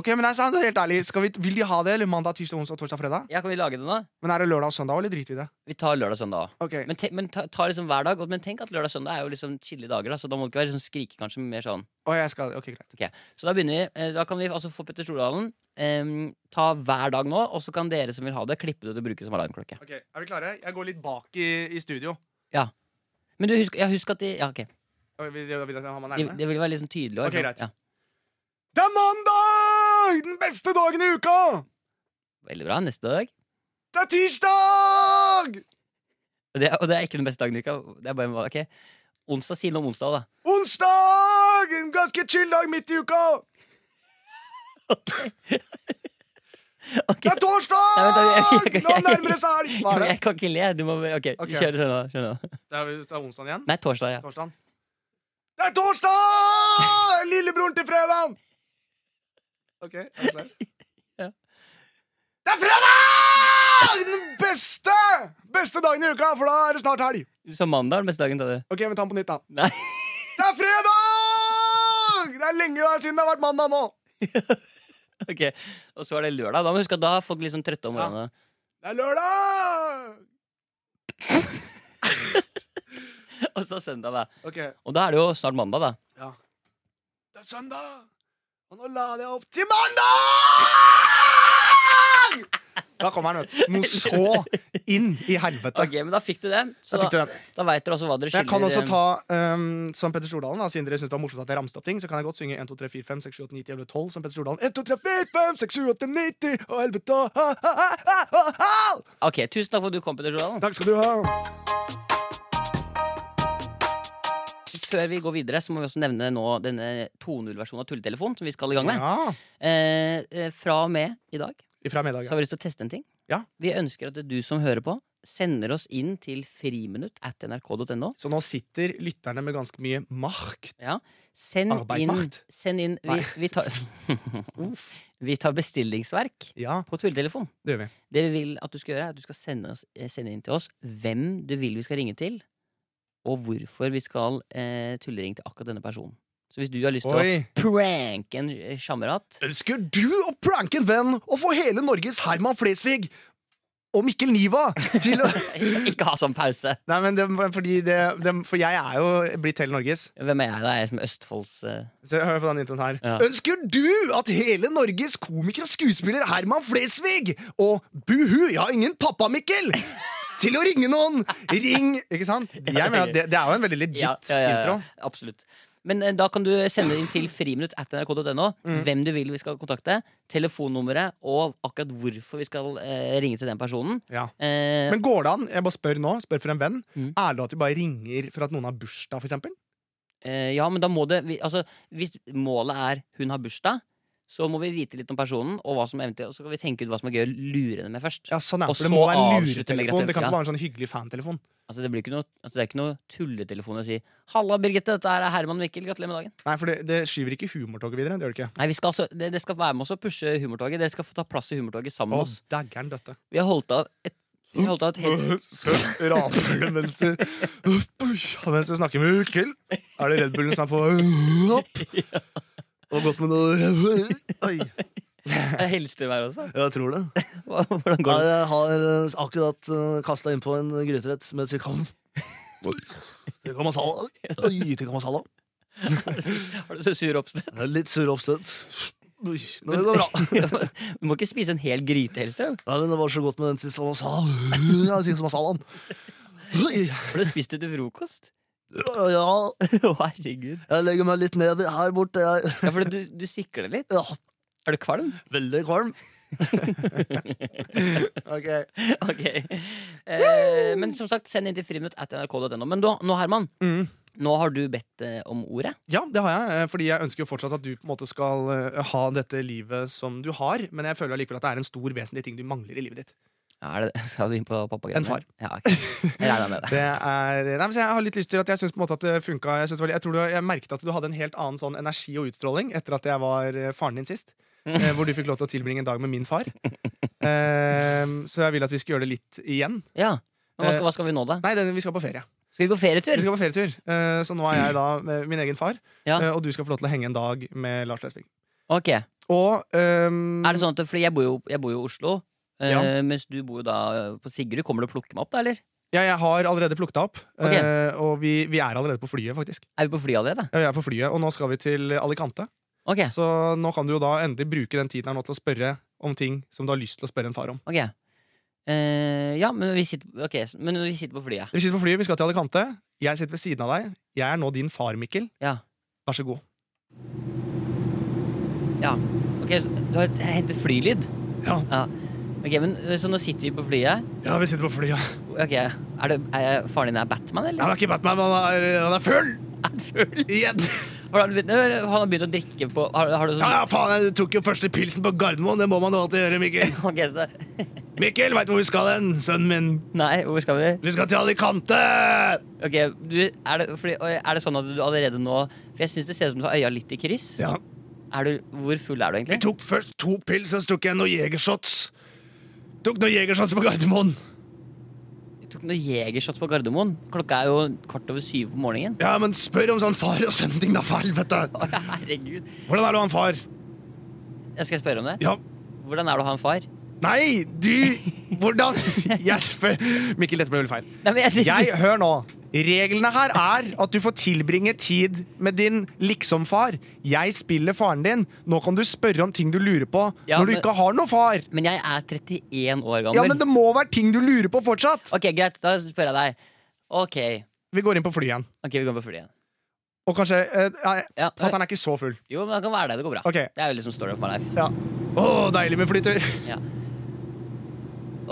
Speaker 2: Ok, men jeg sa det helt ærlig skal vi, Vil de ha det, eller mandag, tirsdag, onsdag, torsdag, fredag?
Speaker 3: ja, kan vi lage det nå?
Speaker 2: Men er det lørdag og søndag, eller driter vi i det?
Speaker 3: Vi tar lørdag og søndag òg.
Speaker 2: Ok,
Speaker 3: Men, te, men ta, ta liksom hver dag. og- Men tenk at lørdag og søndag er jo liksom chille dager, da, så da må det ikke være sånn skrike, kanskje, men mer sånn.
Speaker 2: og jeg skal, ok, greit.
Speaker 3: Så da begynner vi. eh, Da kan vi altså få Petter Stordalen. em, ta hver dag nå, og så kan dere som vil ha det, klippe det og bruke det som alarmklokke.
Speaker 2: Ok, Er vi klare? Jeg går litt bak i, i studio.
Speaker 3: Men du, husk, ja, husk at de Ja, ok.
Speaker 2: Og Vil, vil, vil jeg ha meg
Speaker 3: De,
Speaker 2: nærmere?
Speaker 3: de vil være liksom tydelige. og-
Speaker 2: Ok, greit.
Speaker 3: Ja.
Speaker 2: Det er mandag! Den beste dagen i uka!
Speaker 3: Veldig bra. Neste dag.
Speaker 2: Det er tirsdag!
Speaker 3: Og det, og det er ikke den beste dagen i uka. Det er bare, ok Onsdag, Si noe om onsdag, da.
Speaker 2: Onsdag! En ganske chill dag midt i uka.
Speaker 3: Ok.
Speaker 2: Det er torsdag!
Speaker 3: Nei, vent da, jeg- jeg-
Speaker 2: Nå nærmer det seg helg! Hva er det?
Speaker 3: Jeg kan ikke le. Du må bare Ok,
Speaker 2: Ok.
Speaker 3: kjør søndag. søndag.
Speaker 2: Det er, det er onsdag igjen?
Speaker 3: Nei, torsdag. ja
Speaker 2: Torsdagen. Det er torsdag! Lillebroren til fredagen! OK, er du klar?
Speaker 3: Ja.
Speaker 2: Det er fredag! Den beste! Beste dagen i uka, for da er det snart helg.
Speaker 3: Du sa mandag den beste dagen, sa du.
Speaker 2: Ok, vi tar den på nytt, da.
Speaker 3: Nei.
Speaker 2: Det er fredag! Det er lenge siden det har vært mandag nå.
Speaker 3: Ok, Og så er det lørdag. Da må du huske at da er folk liksom trøtte om
Speaker 2: Ja.
Speaker 3: morgenen.
Speaker 2: Det er lørdag!
Speaker 3: Og så søndag, da.
Speaker 2: Ok, det
Speaker 3: Og da er det jo snart mandag, da.
Speaker 2: er søndag. Og nå lader jeg opp til mandag! Da kommer han, vet du. Noe så inn i helvete.
Speaker 3: Ok, men da fikk du det. Så eh,
Speaker 2: Jeg fikk
Speaker 3: da,
Speaker 2: til den.
Speaker 3: da veit dere også hva dere
Speaker 2: Men jeg
Speaker 3: skylder.
Speaker 2: kan også ta, um, som Petter Stordalen, da, siden dere synes det var morsomt at jeg ramste opp ting, så kan jeg godt synge 1, 2, 3, 4, 5, 6, 7, 8, 9, 10, 11, 12, som Petter Stordalen. 1, 2, 3, 4, 5, 6, 7, 8, 9, 10, og 11, 12, ha, ha, ha, ha, ha, ha.
Speaker 3: eh, Ok, Tusen takk for at du kom, Petter Stordalen.
Speaker 2: Takk skal du ha.
Speaker 3: Før vi går videre, så må vi også nevne nå denne 2.0-versjonen av Tulletelefon som vi skal i gang med.
Speaker 2: Ja,
Speaker 3: Eh, eh, fra og med i dag
Speaker 2: ifra middag.
Speaker 3: så har vi lyst til å teste en ting.
Speaker 2: Ja.
Speaker 3: Vi ønsker at du som hører på, sender oss inn til friminutt at nrk.no.
Speaker 2: Så nå sitter lytterne med ganske mye makt.
Speaker 3: Ja. Send inn,
Speaker 2: Arbeidmakt?
Speaker 3: send inn vi,
Speaker 2: Nei.
Speaker 3: vi, tar, vi tar bestillingsverk
Speaker 2: Ja,
Speaker 3: på tulletelefon.
Speaker 2: det gjør vi.
Speaker 3: Det vi vil at du skal gjøre, er at du skal sende, oss, eh, sende inn til oss hvem du vil vi skal ringe til, og hvorfor vi skal eh, tulleringe til akkurat denne personen. Så hvis du har lyst til å
Speaker 2: Oi.
Speaker 3: pranke en eh, kamerat
Speaker 2: Ønsker du å pranke en venn og få hele Norges Herman Flesvig og Mikkel Niva til å
Speaker 3: Ikke ha sånn pause!
Speaker 2: Nei, men det, fordi det, det, For jeg er jo blitt hele Norges.
Speaker 3: Hvem er jeg? da? Jeg er som Østfolds eh,
Speaker 2: Så hør på den introen her.
Speaker 3: Ja.
Speaker 2: Ønsker du at hele Norges komiker og skuespiller Herman Flesvig og Buhu, jeg har ingen pappa, Mikkel! Til å ringe noen! Ring Ikke sant? Jeg mener at det, det er jo en veldig legit intro.
Speaker 3: Absolutt. Men eh, da kan du sende inn til friminutt at nrk.no
Speaker 2: Mm.
Speaker 3: hvem du vil vi skal kontakte, telefonnummeret og akkurat hvorfor vi skal eh, ringe til den personen.
Speaker 2: Ja.
Speaker 3: Eh,
Speaker 2: Men går det an, jeg bare spør nå, spør for en venn,
Speaker 3: Mm.
Speaker 2: er det at vi bare ringer for at noen har bursdag, for eksempel?
Speaker 3: Eh, ja, men da må det vi, altså, Hvis målet er hun har bursdag, så må vi vite litt om personen, og hva som eventuelt, og så kan vi tenke ut hva som er gøy å lure henne med først.
Speaker 2: Ja, sånn er
Speaker 3: Og
Speaker 2: det. For det
Speaker 3: så
Speaker 2: må være en
Speaker 3: avslutte med
Speaker 2: luretelefon. Det kan
Speaker 3: gratulerer.
Speaker 2: ikke være en sånn hyggelig fantelefon.
Speaker 3: Altså, det, blir ikke noe, altså, det er ikke noe tulletelefon å si 'Halla, Birgitte, dette er Herman Mikkel. Gratulerer med dagen'.
Speaker 2: Nei, for det, det skyver ikke humortoget videre. Det gjør det ikke.
Speaker 3: Nei, vi skal altså, det, det skal være med oss å pushe humortoget. Dere skal få ta plass i humortoget sammen
Speaker 2: Å,
Speaker 3: med oss.
Speaker 2: daggeren døtte.
Speaker 3: Vi har holdt av et, vi har holdt av et helt
Speaker 2: Raper det mens du Mens du snakker med Ukkel. Er det Red Bullen som er på hopp? Og gått med noe Oi,
Speaker 3: Jeg helste meg også.
Speaker 2: jeg tror det.
Speaker 3: Hva- Hvordan går det?
Speaker 2: jeg har eh, akkurat kasta innpå en gryterett med sikam. Tikka masala. Oi, tikka masala.
Speaker 3: Har du så- Har du så sur oppstøt?
Speaker 2: Jeg er Litt sur oppstøt. Ui, Men det går bra.
Speaker 3: Du må ikke spise en hel gryte, Hellstrøm.
Speaker 2: Nei, men Det var så godt med den siste masalaen. Ja, den siste masalaen. Ui,
Speaker 3: Har du spist det til frokost?
Speaker 2: Ja,
Speaker 3: Å, herregud.
Speaker 2: jeg legger meg litt ned her borte. Jeg
Speaker 3: Ja, for du, du sikler litt.
Speaker 2: ja,
Speaker 3: Er du kvalm?
Speaker 2: veldig kvalm. ok.
Speaker 3: Ok eh, Men som sagt, send inn til friminutt at nrk.no. Men nå, nå, Herman,
Speaker 2: Mm.
Speaker 3: nå har du bedt eh, om ordet.
Speaker 2: Ja, det har jeg. eh, Fordi jeg ønsker jo fortsatt at du på en måte skal eh, ha dette livet som du har. Men jeg føler allikevel at det er en stor vesentlig ting du mangler i livet ditt.
Speaker 3: Ja, er det, skal du inn på pappagreiene?
Speaker 2: En far.
Speaker 3: Ja, ok. Jeg regner med det.
Speaker 2: Det er, nei, men så jeg har litt lyst til at jeg synes på en måte at det funka. Jeg, synes det var litt- jeg, tror du, jeg merket at du hadde en helt annen sånn energi og utstråling etter at jeg var eh, faren din sist. eh, Hvor du fikk lov til å tilbringe en dag med min far. Eh, så jeg vil at vi skal gjøre det litt igjen.
Speaker 3: Ja. Men hva skal,
Speaker 2: Eh,
Speaker 3: hva skal vi nå, da?
Speaker 2: Nei, det, vi skal på ferie.
Speaker 3: Skal vi på
Speaker 2: Vi
Speaker 3: ferietur?
Speaker 2: skal på ferietur Eh, Så nå er jeg da eh, min egen far,
Speaker 3: Ja.
Speaker 2: eh, og du skal få lov til å henge en dag med Lars Lesvik.
Speaker 3: Ok. Er
Speaker 2: Og ehm,
Speaker 3: det sånn at Fordi jeg bor jo, jeg bor jo i Oslo, eh,
Speaker 2: Ja.
Speaker 3: mens du bor jo da eh, på Sigrud. Kommer du og plukker meg opp, da, eller?
Speaker 2: ja, jeg har allerede plukket deg opp,
Speaker 3: Ok.
Speaker 2: eh, og vi, vi er allerede på flyet, faktisk.
Speaker 3: Er vi på flyet allerede?
Speaker 2: Ja, vi er på flyet, Og nå skal vi til Alicante.
Speaker 3: Ok.
Speaker 2: Så nå kan du jo da endelig bruke den tiden her nå til å spørre om ting som du har lyst til å spørre en far om.
Speaker 3: ok Eh, Ja, men vi, sitter, ok, s- men vi sitter på flyet.
Speaker 2: Vi sitter på flyet, vi skal til Alicante. Jeg sitter ved siden av deg. Jeg er nå din far, Mikkel.
Speaker 3: Ja.
Speaker 2: Vær så god.
Speaker 3: Ok, så, Du har hentet flylyd?
Speaker 2: Ja.
Speaker 3: Ok, men eh, Så nå sitter vi på flyet.
Speaker 2: Ja, vi sitter på flyet.
Speaker 3: Ok, Er, det, er faren din er Batman, eller?
Speaker 2: Han er ikke Batman, han er, han er full!
Speaker 3: Er det full?
Speaker 2: Igjen!
Speaker 3: Har han begynt, eller har han begynt å drikke på Har, har du sånn
Speaker 2: faen, jeg tok jo første pilsen på Gardermoen. Det må man jo alltid gjøre, Mikkel.
Speaker 3: Ok, så
Speaker 2: Mikkel, veit du hvor vi skal hen, sønnen min?
Speaker 3: Nei, hvor skal vi?
Speaker 2: Vi skal til Alicante!
Speaker 3: Ok, du, er, det, fordi, oi, er det sånn at du allerede nå For jeg syns det ser ut som du har øya litt i kryss.
Speaker 2: Ja,
Speaker 3: Er du, hvor full er du
Speaker 2: Jeg
Speaker 3: egentlig?
Speaker 2: tok først to pils, og så tok jeg noen jegershots. Tok noen jegershots på Gardermoen.
Speaker 3: Jeg tok noen jegershots på Gardermoen. Klokka er jo kvart over syv på morgenen.
Speaker 2: Ja, men spør om sånn far og sønn-ting, da, for helvete.
Speaker 3: Å, herregud.
Speaker 2: Hvordan er du han far?
Speaker 3: Jeg skal spørre om det.
Speaker 2: Ja.
Speaker 3: Hvordan er det å ha en far?
Speaker 2: Nei, du Hvordan Jeg spør Mikkel, dette ble vel feil.
Speaker 3: Nei, men jeg,
Speaker 2: Jeg, hør nå. Reglene her er at du får tilbringe tid med din liksom-far. Jeg spiller faren din. Nå kan du spørre om ting du lurer på
Speaker 3: Ja,
Speaker 2: når du
Speaker 3: men-
Speaker 2: ikke har noe far.
Speaker 3: men jeg er 31 år
Speaker 2: Ja,
Speaker 3: gammel.
Speaker 2: men det må være ting du lurer på fortsatt.
Speaker 3: Ok, Greit, da spør jeg deg. Ok,
Speaker 2: Vi går inn på flyet igjen.
Speaker 3: ok, vi går på flyet igjen.
Speaker 2: Og kanskje eh, nei,
Speaker 3: Ja,
Speaker 2: Fatter'n er ikke så full.
Speaker 3: Jo, men det kan være det. Det går bra.
Speaker 2: Ok.
Speaker 3: Det er jo liksom story of my life.
Speaker 2: Ja. Å, deilig med flytur.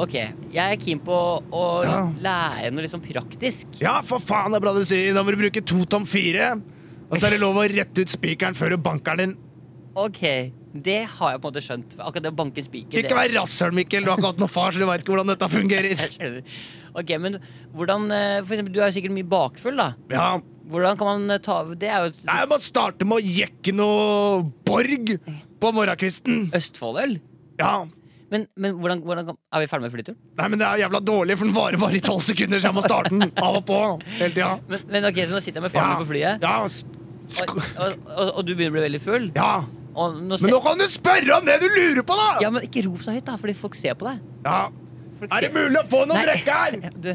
Speaker 3: Ok, Jeg er keen på å
Speaker 2: Ja.
Speaker 3: lære noe liksom praktisk.
Speaker 2: Ja, for faen, det er bra du sier. Da må du bruke to tom fire. Og så er det lov å rette ut spikeren før du banker den.
Speaker 3: Ok, Det har jeg på en måte skjønt. Akkurat det å banke en spiker det-
Speaker 2: Ikke vær rasshøl, Mikkel. Du har ikke hatt noen far, så du veit ikke hvordan dette fungerer.
Speaker 3: Jeg skjønner. Ok, men hvordan eh, For eksempel, du er jo sikkert mye bakfull, da.
Speaker 2: Ja,
Speaker 3: Hvordan kan man eh, ta Det er jo
Speaker 2: Nei,
Speaker 3: et
Speaker 2: jeg må starte med å jekke noe Borg på morgenkvisten.
Speaker 3: Østfoldøl.
Speaker 2: Ja.
Speaker 3: Men, men hvordan, hvordan kan, er vi ferdig med flyturen?
Speaker 2: Nei, men det er jævla dårlig, for den varer bare i tolv sekunder, så jeg må starte den av og på hele tida.
Speaker 3: Men, men ok, Så nå sitter jeg med faren min på flyet,
Speaker 2: Ja. s-
Speaker 3: og,
Speaker 2: sk-
Speaker 3: og, og, og du begynner å bli veldig full.
Speaker 2: ja.
Speaker 3: Og nå ser,
Speaker 2: Men nå kan du spørre om det du lurer på, da!
Speaker 3: Ja, men Ikke rop så høyt, da, fordi folk ser på deg.
Speaker 2: Ja.
Speaker 3: Folk
Speaker 2: Er det
Speaker 3: ser-
Speaker 2: mulig å få noe
Speaker 3: Nei.
Speaker 2: å drikke her?
Speaker 3: Du,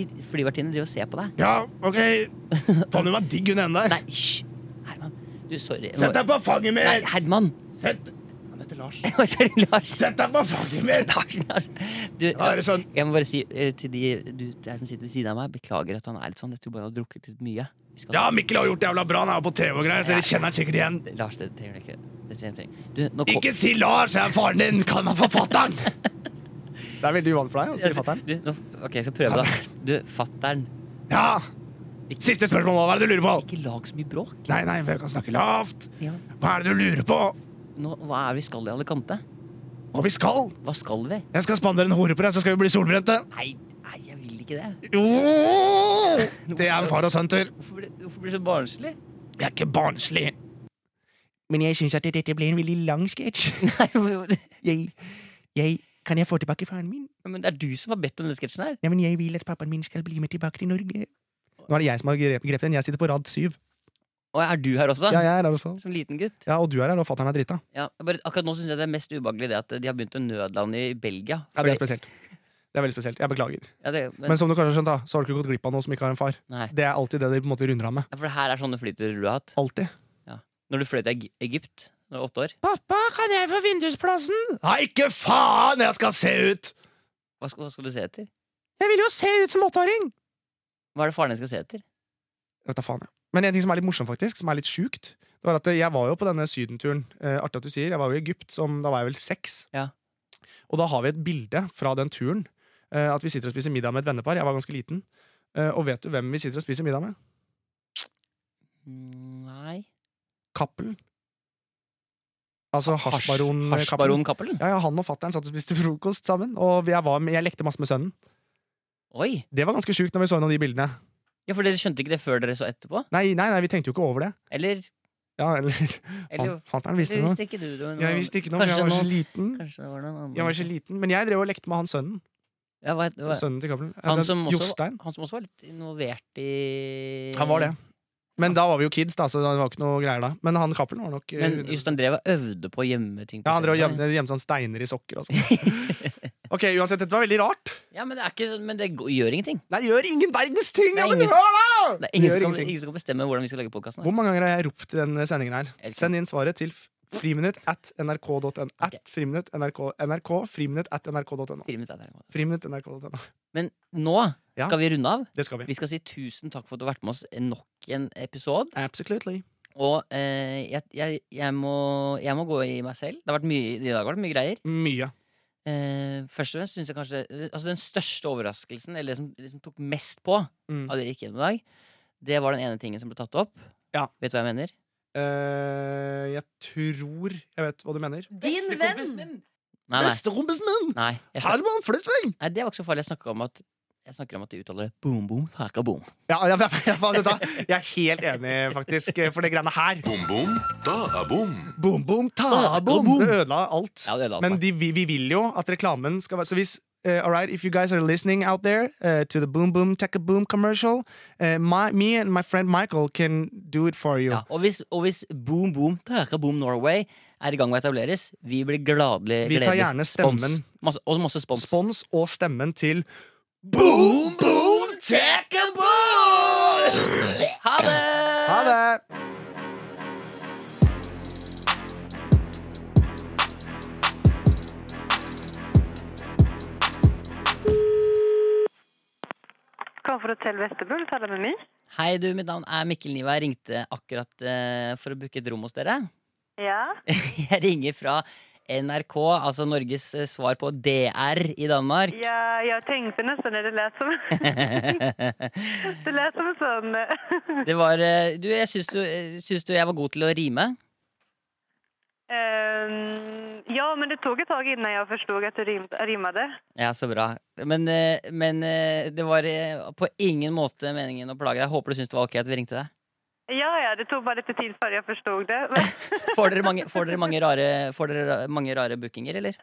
Speaker 3: de flyvertinnene driver og ser på deg.
Speaker 2: Ja, OK. Faen, hun var digg, hun ene
Speaker 3: Nei,
Speaker 2: der.
Speaker 3: hysj! Herman. Du, sorry.
Speaker 2: Sett deg på fanget
Speaker 3: Nei,
Speaker 2: mitt!
Speaker 3: Herman!
Speaker 2: Sett Han heter Lars.
Speaker 3: sorry, Lars.
Speaker 2: Sett deg på fanget mitt!
Speaker 3: Lars, Lars. Du,
Speaker 2: Ja, er det sånn?
Speaker 3: Jeg må bare si eh, til de du, der som sitter ved siden av meg, beklager at han er litt sånn. Jeg tror bare han har drukket litt mye. Vi skal-
Speaker 2: Ja, Mikkel har gjort det jævla bra. Han er jo på TV og greier, så dere kjenner han sikkert igjen.
Speaker 3: Det- Lars, det trenger du ikke. Det trenger du ikke. Du, nå kom-
Speaker 2: Ikke si Lars, jeg er faren din! Kall meg forfatteren! Det er veldig uvant for deg å si fatter'n.
Speaker 3: Du, nå, ok, jeg skal prøve, da. Du, fatter'n.
Speaker 2: Ja! Siste spørsmål nå. Hva er det du lurer på?
Speaker 3: Ikke lag så mye bråk.
Speaker 2: Nei, nei, vi kan snakke lavt.
Speaker 3: Ja.
Speaker 2: Hva er det du lurer på?
Speaker 3: Nå, hva er vi skal i Alicante?
Speaker 2: Hva vi skal?
Speaker 3: Hva skal vi?
Speaker 2: Jeg skal spandere en hore på deg, så skal vi bli solbrente.
Speaker 3: Nei, nei, jeg vil ikke det.
Speaker 2: Jo! Det er en far og sønn-tur.
Speaker 3: Hvorfor blir hvorfor blir det så barnslig?
Speaker 2: Jeg er ikke barnslig. Men jeg syns at dette ble en veldig lang sketsj.
Speaker 3: Nei, hvor-
Speaker 2: Jeg, Kan jeg få tilbake faren min?
Speaker 3: men det er du som har bedt om den sketsjen her.
Speaker 2: Nei, men jeg vil at pappaen min skal bli med tilbake til Norge. Nå er det jeg som har grep- grepet den. Jeg sitter på rad syv.
Speaker 3: Og er du her også?
Speaker 2: Ja, jeg er her også.
Speaker 3: Som liten gutt.
Speaker 2: Ja, og du er her, og fatter'n er drita.
Speaker 3: Ja, bare, akkurat nå syns jeg det er mest ubehagelig det at de har begynt å nødlande i Belgia.
Speaker 2: Ja, det er
Speaker 3: Fordi-
Speaker 2: spesielt. Det er veldig spesielt. Jeg beklager.
Speaker 3: Ja, det- men-
Speaker 2: Men som du kanskje har skjønt, da, så har du ikke gått glipp av noe som ikke har en far.
Speaker 3: Nei.
Speaker 2: Det er alltid det de på en måte runder av med.
Speaker 3: Ja, For det her er sånne flyturer du har hatt.
Speaker 2: Alltid.
Speaker 3: Når du fløy til Eg- Egypt da du var åtte år.
Speaker 2: Pappa, kan jeg få vindusplassen? Nei, ikke faen! Jeg skal se ut!
Speaker 3: Hva skal, hva skal du se etter?
Speaker 2: Jeg vil jo se ut som åtteåring!
Speaker 3: Hva er det faren din skal se etter?
Speaker 2: Vet da faen, jeg. Men en ting som er litt morsom, faktisk, som er litt sjukt, det var at jeg var jo på denne sydenturen. Eh, artig at du sier. Jeg var jo i Egypt, som, da var jeg vel seks.
Speaker 3: Ja.
Speaker 2: Og da har vi et bilde fra den turen. Eh, at vi sitter og spiser middag med et vennepar. Jeg var ganske liten. Eh, og vet du hvem vi sitter og spiser middag med?
Speaker 3: Mm, Nei
Speaker 2: Cappelen. Altså hasjbaron
Speaker 3: Hasjbaron Cappelen?
Speaker 2: Ja, ja, han og fattern satt og spiste frokost sammen, og jeg, var med, jeg lekte masse med sønnen.
Speaker 3: Oi!
Speaker 2: Det var ganske sjukt når vi så noen av de bildene.
Speaker 3: Ja, for dere skjønte ikke det før dere så etterpå?
Speaker 2: Nei, nei, nei, vi tenkte jo ikke over det.
Speaker 3: Eller,
Speaker 2: Ja, eller,
Speaker 3: eller
Speaker 2: han, fatteren visste
Speaker 3: eller
Speaker 2: noe.
Speaker 3: visste ikke du det?
Speaker 2: Jeg visste ikke noe, men
Speaker 3: Kanskje
Speaker 2: jeg var så
Speaker 3: noen-
Speaker 2: liten.
Speaker 3: Kanskje det var noen andre.
Speaker 2: Jeg var så liten, Men jeg drev og lekte med han sønnen.
Speaker 3: ja, hva, het-
Speaker 2: Så
Speaker 3: hva,
Speaker 2: sønnen til Cappelen.
Speaker 3: han, som også,
Speaker 2: Jostein.
Speaker 3: han som også var litt involvert i
Speaker 2: Han var det. Men da var vi jo kids, da, så det var ikke noe greier da. Men han Cappelen var nok eh,
Speaker 3: Men Jostein drev og øvde på å gjemme ting. på
Speaker 2: Ja, han drev og
Speaker 3: scenen.
Speaker 2: gjemte gjemte sånn steiner i sokker og sånn. ok, uansett, dette var veldig rart.
Speaker 3: Ja, men det, er ikke, sånn- men det går- gjør ingenting.
Speaker 2: Nei, det gjør ingen verdens ting!
Speaker 3: Det er
Speaker 2: Ja, men
Speaker 3: ingen-
Speaker 2: hør da!
Speaker 3: Det er
Speaker 2: Det
Speaker 3: ingen,
Speaker 2: gjør
Speaker 3: som kan,
Speaker 2: ingenting.
Speaker 3: ingen som kan bestemme hvordan vi skal legge podkasten.
Speaker 2: Hvor mange ganger har jeg ropt i den eh, sendingen her?
Speaker 3: Elsker.
Speaker 2: Send inn svaret til f- friminutt at nrk.no. At friminutt nrk, nrk friminutt at nrk.no. Friminutt nrk.no.
Speaker 3: Men nå
Speaker 2: Ja.
Speaker 3: skal vi runde av.
Speaker 2: Det skal vi.
Speaker 3: Vi skal si tusen takk for at du har vært med oss i nok en episode.
Speaker 2: Absolutely.
Speaker 3: Og eh, jeg, jeg, jeg, må, jeg må gå i meg selv. Det har vært mye, I dag har det vært mye greier.
Speaker 2: Mye.
Speaker 3: Eh, først og fremst synes jeg kanskje Altså Den største overraskelsen, eller det som, det som tok mest på
Speaker 2: Mm.
Speaker 3: av det jeg gikk gjennom i dag, det var den ene tingen som ble tatt opp.
Speaker 2: Ja.
Speaker 3: Vet du hva jeg mener?
Speaker 2: Eh, jeg tror jeg vet hva du mener.
Speaker 4: Din venn!
Speaker 3: Nei, nei.
Speaker 2: kompisen min!
Speaker 3: nei, jeg snak-
Speaker 2: Herman Flesvig!
Speaker 3: nei det var ikke så farlig. Jeg snakker om at Jeg snakker om at de uttaler det boom, boom, taka, boom.
Speaker 2: Ja, ja, ja, ja, faen, dette- jeg er helt enig, faktisk, for det greiene her.
Speaker 1: Boom, boom, da boom.
Speaker 2: Boom, boom, ta,
Speaker 3: Ah, boom.
Speaker 2: Det ødela alt.
Speaker 3: Ja, det altså. la
Speaker 2: Men
Speaker 3: meg.
Speaker 2: de, vi, vi vil jo at reklamen skal være Så hvis eh, all right, if you guys are listening out there eh, to the Boom Boom Taka Boom commercial, eh, my, me and my friend Michael can do it for you.
Speaker 3: ja, og, hvis, og hvis boom, boom, taka, boom Norway er i gang med å etableres, vi blir gladelig
Speaker 2: Vi tar
Speaker 3: gledelig
Speaker 2: gjerne
Speaker 3: spons.
Speaker 2: stemmen.
Speaker 3: Masse, og masse spons.
Speaker 2: Spons og stemmen til Boom Boom Taka Boom!
Speaker 3: Ha det!
Speaker 2: Ha det!
Speaker 6: Comfort Hotel Vesterbro, du taler med meg.
Speaker 3: Hei, du, mitt navn er Mikkel Niva. Jeg ringte akkurat eh, for å booke et rom hos dere.
Speaker 6: Ja.
Speaker 3: Jeg ringer fra NRK, altså Norges eh, svar på DR i Danmark.
Speaker 6: ja, jeg tenkte nesten det lät som,
Speaker 3: det
Speaker 6: det lät som en sånn
Speaker 3: var eh, Du, jeg syns du, eh, syns du jeg var god til å rime?
Speaker 6: Ehm, Ja, men det tok et tag innan jeg forstod at du rim, rimmade.
Speaker 3: Ja, så bra. Men, eh, men eh, det var eh, på ingen måte meningen å plage deg. Håper du syns det var ok at vi ringte deg.
Speaker 6: Ja, ja, det tok bare litt tid før jeg forstod det.
Speaker 3: Får dere mange, får dere mange, rare, får dere ra- mange rare bookinger, eller?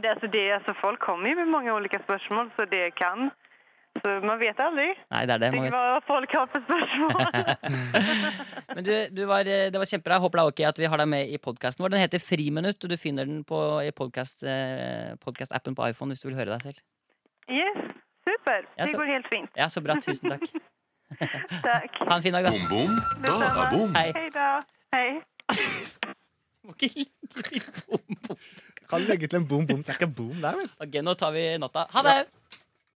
Speaker 6: det, alltså, det, alltså, folk kommer ju med många olika spørsmål, så det kan. Så man vet aldrig
Speaker 3: Nei, det er det. Man vet.
Speaker 6: vad folk har för spørsmål.
Speaker 3: Men du, du var, eh, det var kjempebra. Jeg Håper det er ok at vi har deg med i podkasten vår. Den heter Friminutt, og du finner den på, i podkast-appen på iPhone hvis du vil høre deg selv.
Speaker 6: yes, super.
Speaker 3: Ja,
Speaker 6: Det
Speaker 3: så-
Speaker 6: går helt fint.
Speaker 3: Ja, så bra. Tusen takk.
Speaker 6: Tack.
Speaker 3: Ha en fin dag, da.
Speaker 1: Boom, boom, da
Speaker 6: Detsamma.
Speaker 1: boom.
Speaker 3: Hei.
Speaker 6: Hej då. Hej.
Speaker 3: Må ikke ligge i bombo.
Speaker 2: Kan legge til en Boom Boom Taka Boom der, vel?
Speaker 3: Ok, nå tar vi natta. Ha det!